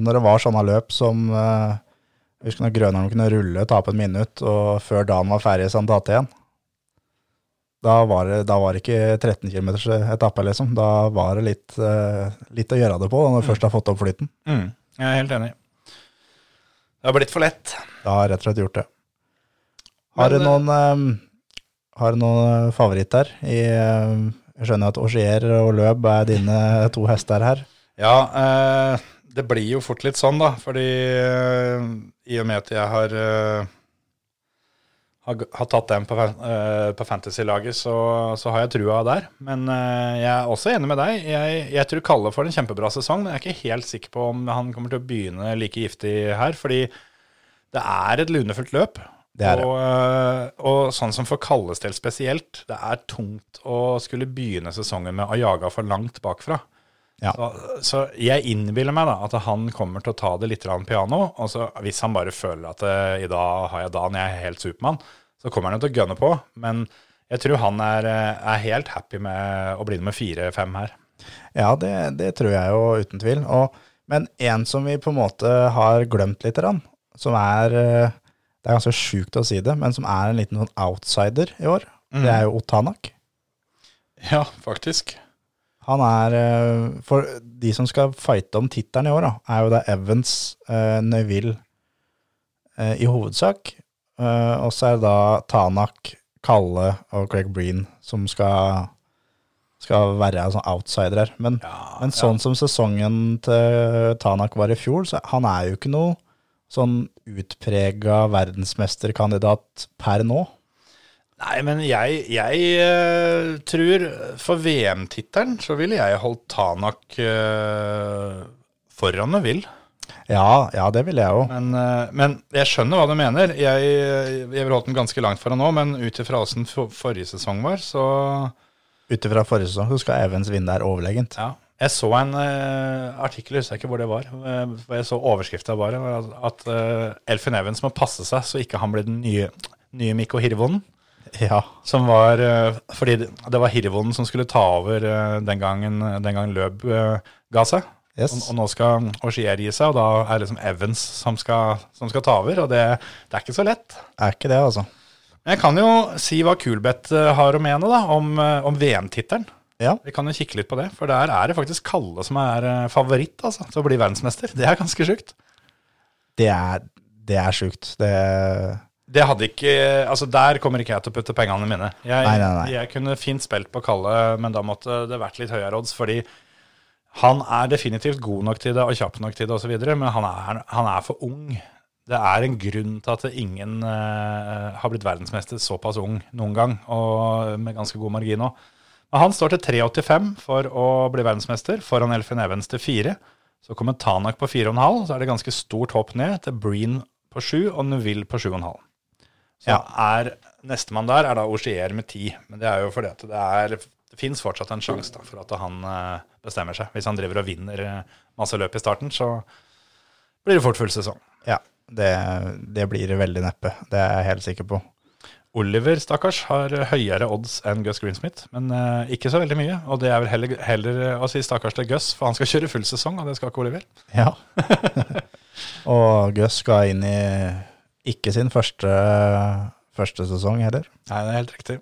S4: Når det var sånne løp som eh, Jeg husker når Grønholm kunne rulle, tape et minutt, og før dagen var ferdig, så han datt igjen. Da var, det, da var det ikke 13 km etappe, liksom. Da var det litt, eh, litt å gjøre det på, da, når du først har fått opp flyten.
S1: Mm, jeg er helt enig. Det har blitt for lett.
S4: Da har jeg rett og slett gjort det.
S1: Men,
S4: Har du noen, eh, har du noen eh, favoritt her? I, eh, jeg skjønner at Augier og Løb er dine to hester her.
S1: Ja, eh, det blir jo fort litt sånn, da. Fordi eh, i og med at jeg har, eh, har, g- har tatt den på, fan- eh, på fantasy-laget, så, så har jeg trua der. Men eh, jeg er også enig med deg. Jeg, jeg tror Kalle får en kjempebra sesong, men jeg er ikke helt sikker på om han kommer til å begynne like giftig her. Fordi det er et lunefullt løp.
S4: Det er det.
S1: Og, eh, og sånn som for Kalles del spesielt, det er tungt å skulle begynne sesongen med å jage for langt bakfra. Så, så jeg innbiller meg da at han kommer til å ta det litt grann piano. Og så hvis han bare føler at eh, i dag har jeg dagen, jeg er helt Supermann, så kommer han jo til å gønne på. Men jeg tror han er, eh, er helt happy med å bli nummer fire-fem her.
S4: Ja, det, det tror jeg jo uten tvil. Og, men en som vi på en måte har glemt litt, som er eh, Det er ganske sjukt å si det, men som er en liten sånn outsider i år, det er jo Otanak.
S1: Ja, faktisk.
S4: Han er eh, For de som skal fighte om tittelen i år, da, er jo da Evans, eh, Neville eh, i hovedsak. Eh, og så er det da Tanak, Kalle og Craig Breen som skal, skal være sånn outsider her. Men, men sånn som sesongen til Tanak var i fjor, så han er jo ikke noe sånn utprega verdensmesterkandidat per nå.
S1: Nei, men jeg, jeg eh, tror for VM-tittelen så ville jeg holdt Tanak eh, foran Neville.
S4: Ja, ja, det vil jeg jo.
S1: Men, eh, men jeg skjønner hva du mener. Jeg, jeg vil holdt den ganske langt foran nå, men ut ifra åssen for, forrige sesong var, så
S4: Ut ifra forrige sesong så skal Evans vinne der overlegent.
S1: ja. Jeg så en eh, artikkel, jeg husker ikke hvor det var, eh, hvor jeg så overskrifta bare, var at eh, Elfin Evans må passe seg så ikke han blir den nye, nye Mikko Hirvonen.
S4: Ja.
S1: Som var eh, Fordi det, det var Hirvonen som skulle ta over eh, den gangen, den gangen Løb eh, ga seg.
S4: Yes.
S1: Og, og nå skal Oshier gi seg, og da er det liksom Evans som skal, som skal ta over. Og det, det er ikke så lett.
S4: Er ikke det, altså.
S1: Jeg kan jo si hva Kulbeth eh, har å mene da, om, eh, om VM-tittelen.
S4: Ja.
S1: Vi kan jo kikke litt på det, for der er det faktisk Kalle som er eh, favoritt altså, til å bli verdensmester. Det er ganske sjukt.
S4: Det er, det er sjukt. Det,
S1: Det hadde ikke, altså Der kommer ikke jeg til å putte pengene mine. Jeg,
S4: Nei, nei, nei.
S1: jeg kunne fint spilt på Kalle, men da måtte det vært litt høyere odds. Fordi han er definitivt god nok til det og kjapp nok til det osv., men han er, han er for ung. Det er en grunn til at ingen eh, har blitt verdensmester såpass ung noen gang, og med ganske god margin òg. Han står til 3,85 for å bli verdensmester, foran Elfin Evans til 4. Så kommer Tanak på 4,5, så er det ganske stort hopp ned til Breen på 7 og Nuville på 7,5. Så er nestemann der er da Ogier med 10, men det er jo fordi at det er det fins fortsatt en sjanse da, for at han eh, bestemmer seg. Hvis han driver og vinner eh, masse løp i starten, så blir det fort full sesong.
S4: Ja, det, det blir veldig neppe. Det er jeg helt sikker på.
S1: Oliver, stakkars, har eh, høyere odds enn Gus Greensmith, men eh, ikke så veldig mye. Og det er vel heller, heller å si stakkars til Gus, for han skal kjøre full sesong, og det skal ikke Oliver.
S4: Ja. og Gus skal inn i ikke sin første, første sesong heller.
S1: Nei, det er helt riktig.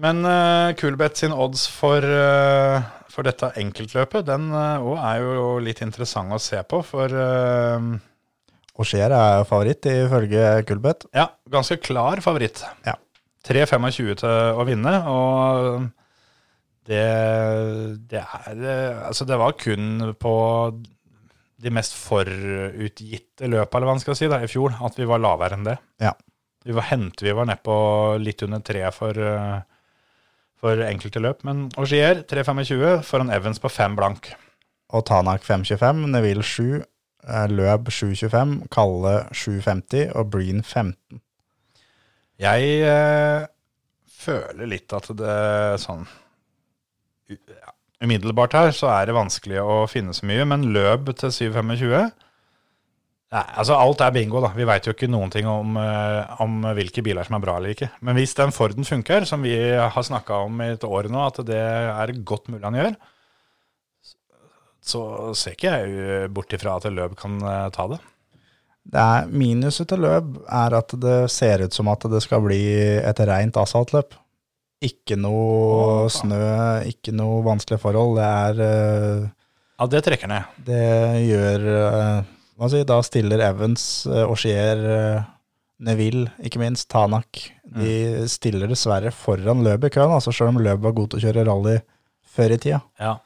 S1: Men eh, Kulbeth sin odds for, eh, for dette enkeltløpet, den eh, også er jo litt interessant å se på, for eh,
S4: Auxier er favoritt ifølge Kulbeth.
S1: Ja, ganske klar favoritt.
S4: Ja.
S1: 3-25 til å vinne, og det, det er eh, Altså, det var kun på de mest forutgitte løpa, eller hva man skal si, da, i fjor, at vi var lavere enn det.
S4: Ja.
S1: Vi var hente, vi var nedpå litt under tre for, eh, for enkelte løp, men Augier 3-25 foran Evans på fem blank.
S4: Og Tanak 5,25, Neville 7, eh, Løb 7,25, Kalle 7,50 og Breen 15.
S1: Jeg eh, føler litt at det sånn u- ja, Umiddelbart her så er det vanskelig å finne så mye, men løp til 7.25 Nei, altså Alt er bingo, da. Vi veit jo ikke noen ting om, eh, om hvilke biler som er bra eller ikke. Men hvis den Forden funker, som vi har snakka om i et år nå, at det er godt mulig han gjør, så ser ikke jeg eh, bort ifra at Løb kan eh, ta det.
S4: Det er Minuset til løp er at det ser ut som at det skal bli et rent asfaltløp. Ikke noe snø, ikke noe vanskelige forhold. Det er eh,
S1: Ja, Det trekker ned.
S4: Det gjør eh, hva skal jeg si, Da stiller Evans, eh, Auxier, eh, Neville, ikke minst, Tanak De stiller dessverre foran Løb i køen, altså selv om Løb var god til å kjøre rally før i tida.
S1: Ja.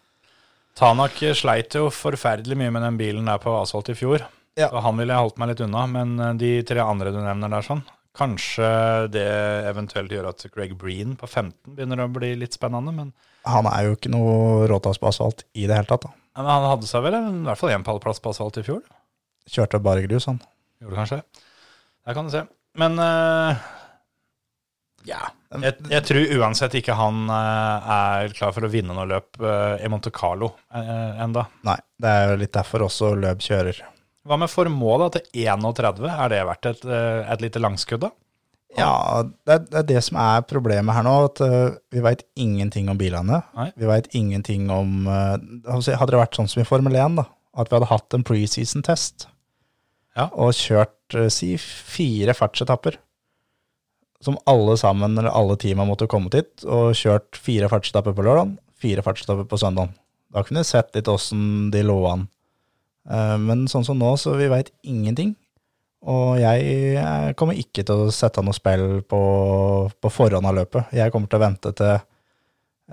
S1: Tanak sleit jo forferdelig mye med den bilen der på asfalt i fjor.
S4: Ja.
S1: Så han ville jeg holdt meg litt unna, men eh, de tre andre du nevner der sånn, kanskje det eventuelt gjør at Greg Breen på 15 begynner å bli litt spennende, men
S4: Han er jo ikke noe råtass på asfalt i det hele tatt. da.
S1: men han hadde seg vel en- i hvert fall én pallplass på asfalt i fjor.
S4: Kjørte bare grus, han.
S1: Gjorde kanskje det. Der kan du se. Men eh,
S4: Ja.
S1: jeg, jeg tror uansett ikke han eh, er klar for å vinne noe løp eh, i Monte Carlo uh, enda.
S4: Nei, det er jo litt derfor også Løb kjører.
S1: Hva med formål da, til 31? Er det verdt et, eh, et lite langskudd da?
S4: Ja, det er, det er det som er problemet her nå. At eh, vi veit ingenting om bilene.
S1: Nei.
S4: Vi veit ingenting om eh, hva skal jeg si, Hadde det vært sånn som i Formel 1, da, at vi hadde hatt en preseason-test
S1: Ja.
S4: og kjørt eh, si fire fartsetapper som alle sammen, eller alle teama måtte kommet hit, og kjørt fire fartsetapper på lørdag, fire fartsetapper på søndag. Da kunne vi sett litt åssen de lå an. Eh, Men sånn som nå, så vi veit ingenting. Og jeg eh, kommer ikke til å sette noe spill på, på forhånd av løpet. Jeg kommer til å vente til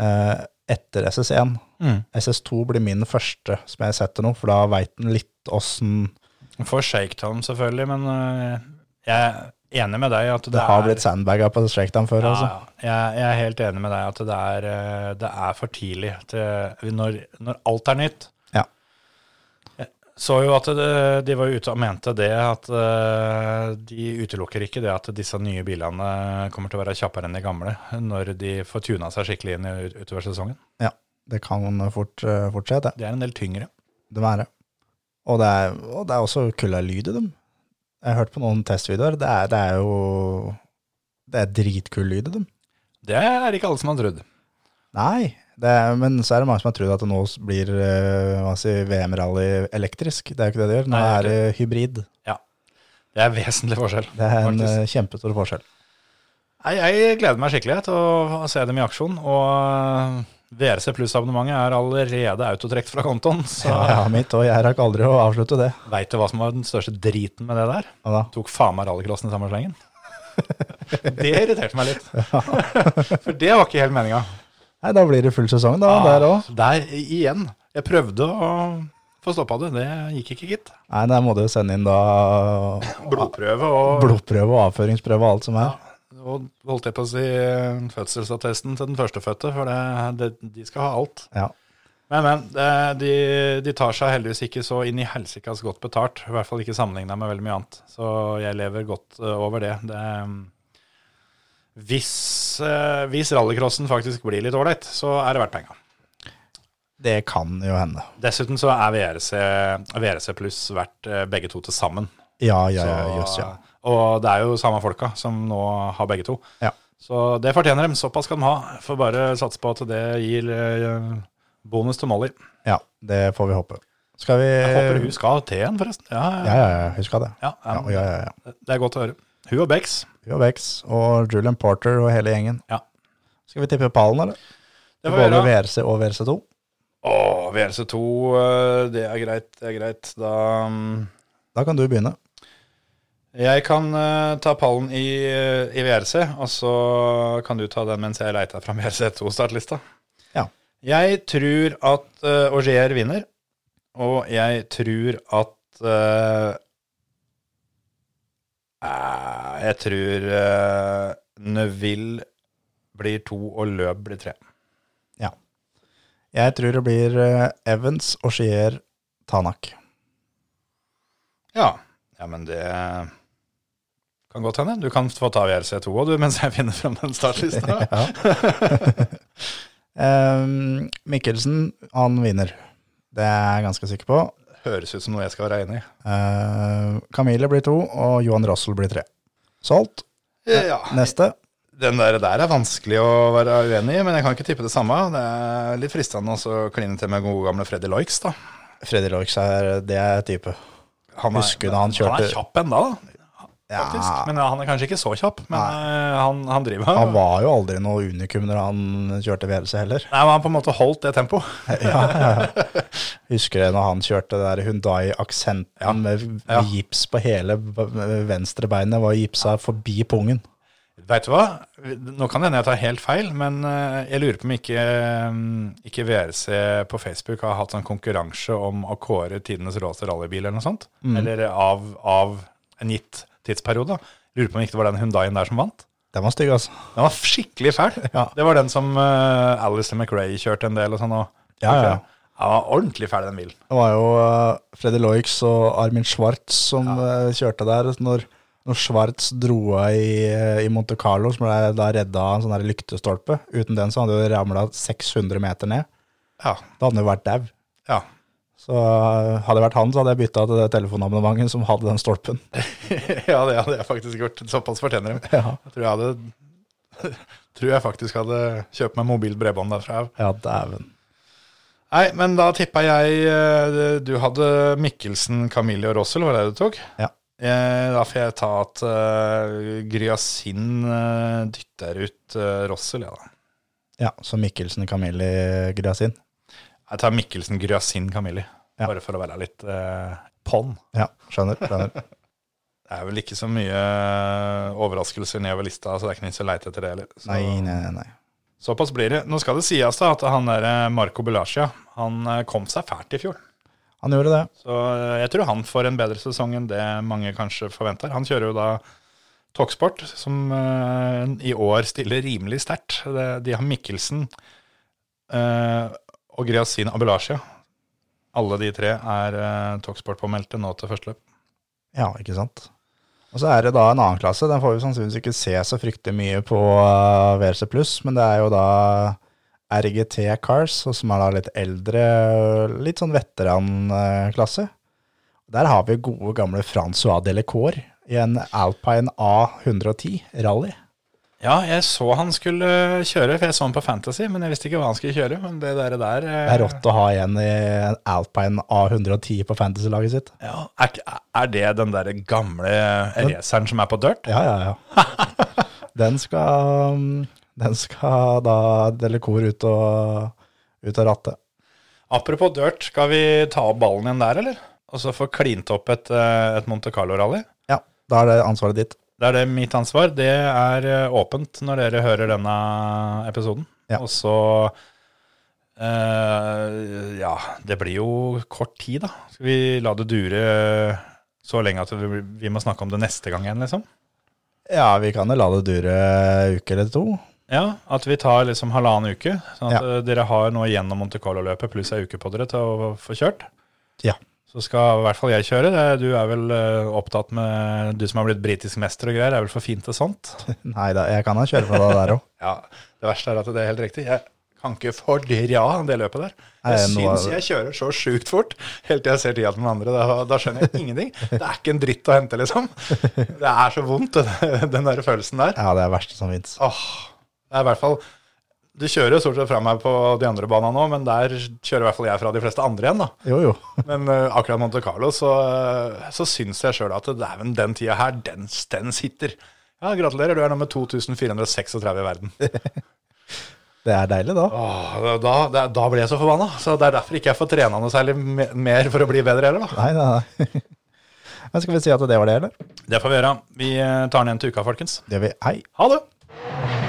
S4: eh, etter SS1.
S1: Mm.
S4: SS2 blir min første som jeg setter noe, for da veit en litt åssen
S1: Man får shakedown selvfølgelig, men øh, jeg er enig med deg at det,
S4: det, har
S1: er,
S4: blitt sandbaga på shakedown før.
S1: ja,
S4: altså.
S1: ja. jeg, jeg er helt enig med deg at det er, øh, det er for tidlig til, når, når alt er nytt.
S4: Ja.
S1: Jeg Så jo at det, de var ute og mente det, at øh, de utelukker ikke det at disse nye bilene kommer til å være kjappere enn de gamle når de får tuna seg skikkelig inn i- utover sesongen.
S4: Ja, det kan fort, eh, fort skje, det.
S1: Det er en del tyngre.
S4: De er det. Og det er, og det er også kulda lyd i dem. Jeg har hørt på noen testvideoer. Det er, det er jo Det er dritkul lyd i dem.
S1: Det er ikke alle som har trodd.
S4: Nei, det er, men så er det mange som har trodd at det nå blir eh, hva skal jeg si, VM-rally elektrisk. Det er jo ikke det det gjør. Nå
S1: Nei,
S4: er
S1: det
S4: det hybrid.
S1: Det er vesentlig forskjell.
S4: Det er en
S1: faktisk.
S4: eh, kjempestor forskjell.
S1: Nei, jeg gleder meg skikkelig til å se dem i aksjon. Og eh, VRC pluss-abonnementet er allerede autotrekt fra kontoen, så
S4: Ja, mitt, og jeg rakk aldri å avslutte det.
S1: veit du hva som var den største driten med det der?
S4: Ja, da.
S1: Tok faen meg rallycrossen i samme slengen. Det irriterte meg litt. For det var ikke helt meninga.
S4: Nei, da blir det full sesong, da. Der òg.
S1: Der igjen. Jeg prøvde å få stoppa det. Det gikk ikke, gitt.
S4: Nei, der må du jo sende inn da
S1: Blodprøve og
S4: blodprøve og avføringsprøve og alt som er.
S1: Og holdt jeg på å si eh, fødselsattesten til den førstefødte, for det, det, de skal ha alt.
S4: Ja.
S1: Men, men. eh, De, de tar seg heldigvis ikke så inn i helsikas godt betalt. I hvert fall ikke sammenligna med veldig mye annet. Så jeg lever godt eh, over det. det mm, hvis, eh, hvis rallycrossen faktisk blir litt ålreit, så er det verdt penga.
S4: Det kan jo hende.
S1: Dessuten så er VRC, VRC pluss verdt eh, begge to til sammen.
S4: Ja, ja, ja,
S1: Så-
S4: jøss, ja.
S1: Og det er jo samme folka som nå har begge to.
S4: Ja.
S1: Så det fortjener dem. Såpass skal de ha. Får bare satse på at det gir eh, bonus til Molly.
S4: Ja, det får vi håpe. Skal vi
S1: Jeg håper hun skal til en, forresten. Ja,
S4: Ja, ja, ja, huska det.
S1: Ja,
S4: Ja,
S1: um,
S4: ja, ja, ja.
S1: Det er godt å høre. Hun og Bex.
S4: Hun og Bex og Julian Porter og hele gjengen.
S1: Ja.
S4: Skal vi tippe pallen, eller?
S1: Det får vi
S4: Både
S1: gjøre.
S4: VRC og VRC2.
S1: Å, VLC2, eh, det er greit, det er greit. Da mm,
S4: Da kan du begynne.
S1: Jeg kan eh, ta pallen i, eh, i VRC, og så kan du ta den mens jeg leiter fram VRC2-startlista.
S4: Ja.
S1: Jeg tror at uh, Auger vinner, og jeg tror at eh, eh, Jeg tror eh, Neville blir to, og Løb blir tre.
S4: Jeg tror det blir eh, Evans, Ogier, Tanak.
S1: Ja. ja, men det kan godt hende. Du kan få ta VRC2 òg, du, mens jeg finner fram den startlista.
S4: Ja. Em, Mikkelsen, han vinner. Det er jeg ganske sikker på.
S1: Høres ut som noe jeg skal være enig i.
S4: Eh, Camille blir to, og Johan Russell blir tre. Solgt.
S1: Ja.
S4: Neste.
S1: Den der, der er vanskelig å være uenig i, men jeg kan ikke tippe det samme. Det er litt fristende også å kline til med gode gamle Freddy Loix, da.
S4: Freddy Loix er det er type.
S1: Han
S4: Husker du da han kjørte-
S1: Han er kjapp ennå, da.
S4: Ja,
S1: Faktisk. Men ja, han er kanskje ikke så kjapp, men eh, han, han driver.
S4: han var jo aldri noe unikum når han kjørte VLC heller.
S1: Nei, men han på en måte holdt det tempoet.
S4: Husker jeg når han kjørte det der Hundai-aksenten med
S1: Ja.
S4: gips på hele v- venstre beinet, var gipsa forbi pungen.
S1: Veit du hva? Nå kan det hende jeg tar helt feil, men eh, jeg lurer på om ikke, eh, ikke VRC på Facebook har hatt en konkurranse om å kåre tidenes råeste rallybil eller noe sånt.
S4: Mm.
S1: Eller av, av en gitt tidsperiode. da. Lurer på om ikke det var den Hundaien der som vant.
S4: Den var stygg, altså.
S1: Den var skikkelig fæl.
S4: Ja.
S1: Det var den som uh, Alistair McRae kjørte en del og sånn. Og,
S4: Ja, ja.
S1: Den var ordentlig fæl, den bilen.
S4: Det var jo eh, Freddy Loix og Armin Schwartz som eh, kjørte der. Når, når Schwartz dro av i, eh, i Monte Carlo, som ble da redda av en sånn der lyktestolpe. Uten den så hadde det ramla 600 meter ned.
S1: Ja.
S4: Da hadde han jo vært dau.
S1: ja.
S4: Så eh, hadde det vært han, så hadde jeg bytta til det telefonabonnementet som hadde den stolpen.
S1: ja, det hadde jeg faktisk gjort. Såpass fortjener de.
S4: Ja.
S1: Jeg tror jeg hadde Tror jeg faktisk hadde kjøpt meg mobilt bredbånd derfra.
S4: Ja, dæven.
S1: Nei, men da tippa jeg eh, Du hadde Mikkelsen, Camille og Russell, var det det du tok?
S4: Ja.
S1: Eh, Da får jeg ta at uh, Gryasin eh, dytter ut eh, Russell, ja da.
S4: Ja, så Mikkelsen, Camille Grasin.
S1: Jeg tar Mikkelsen, Gryasin, Camille.
S4: Ja.
S1: Bare for å være litt eh, på'n.
S4: Ja, skjønner. skjønner.
S1: Det er vel ikke så mye eh, overraskelser nedover lista, så det er ikke nytt å leite etter det heller. Så,
S4: Nei, nei, nei, nei.
S1: Såpass blir det. Nå skal det sies da at han der eh, Marco Bulacia, han eh, kom seg fælt i fjor.
S4: Han gjorde det.
S1: Så eh, jeg tror han får en bedre sesong enn det mange kanskje forventer. Han kjører jo da Toksport, som eh, i år stiller rimelig sterkt. Det- De har Mikkelsen eh, og Gryasin Abulasia. Alle de tre er eh, Toksport-påmeldte nå til første løp.
S4: Ja, ikke sant. Og så er det da en annen klasse. Den får vi sannsynligvis ikke se så fryktelig mye på eh, VRC+, men det er jo da RGT Cars, og som er da litt eldre, litt sånn veteranklasse. Der har vi gode gamle Francois Delacour i en Alpine A110 Rally.
S1: Ja, jeg så han skulle eh, kjøre, for jeg så han på Fantasy, men jeg visste ikke hva han skulle kjøre. Men det der, der eh,
S4: Det er rått å ha en i en Alpine A110 på fantasy-laget sitt.
S1: Ja, er, ikke- er det den der gamle raceren som er på dirt?
S4: Ja, ja, ja. Den skal, mm, den skal da Delacour ut og, ut av rattet.
S1: Apropos dirt, skal vi ta opp ballen igjen der, eller? Og så få klint opp et, eh, et Monte Carlo-rally?
S4: Ja, da er det ansvaret ditt.
S1: Det er det mitt ansvar. Det er eh, åpent når dere hører denne episoden.
S4: Ja.
S1: Og så eh, Ja, det blir jo kort tid, da. Skal vi la det dure så lenge at vi, vi må snakke om det neste gang igjen, liksom?
S4: Ja, vi kan jo la det dure en uke eller to.
S1: Ja, at vi tar liksom halvannen uke. Sånn at
S4: Ja.
S1: eh, dere har nå gjennom Monte Carlo-løpet pluss ei uke på dere til å få kjørt.
S4: Ja.
S1: Så skal i hvert fall jeg kjøre. Det- Du er vel eh, opptatt med Du som har blitt britisk mester og greier, er vel for fin til sånt?
S4: Nei da, jeg kan da kjøre for deg der òg.
S1: Ja, det verste er at det er helt riktig. Jeg kan ikke fordra det løpet der.
S4: Nei,
S1: Jeg
S4: nå er
S1: syns
S4: det-
S1: jeg kjører så sjukt fort helt til jeg ser tida til den andre. Da, da skjønner jeg ingenting. Det er ikke en dritt å hente, liksom. Det er så vondt, den der følelsen der.
S4: Ja, det er verste som fins.
S1: Åh, det er i hvert fall Du kjører jo stort sett fra meg på de andre banene òg, men der kjører i hvert fall jeg fra de fleste andre igjen, da.
S4: Jo, jo.
S1: Men eh, akkurat Monte Carlo, så, uh, så syns jeg sjøl at dæven, den tida her, den, den sitter. Ja, gratulerer, du er nummer 2436 i verden.
S4: Det er deilig, da.
S1: Åh, da, da, da blir jeg så forbanna. Så det er derfor ikke jeg får trena noe særlig me- mer for å bli bedre heller, da.
S4: Nei, nei, nei. Men skal vi si at det var det, eller?
S1: Det får vi gjøre. Vi eh, tar den igjen til uka, folkens.
S4: Det gjør vi. Hei.
S1: Ha det!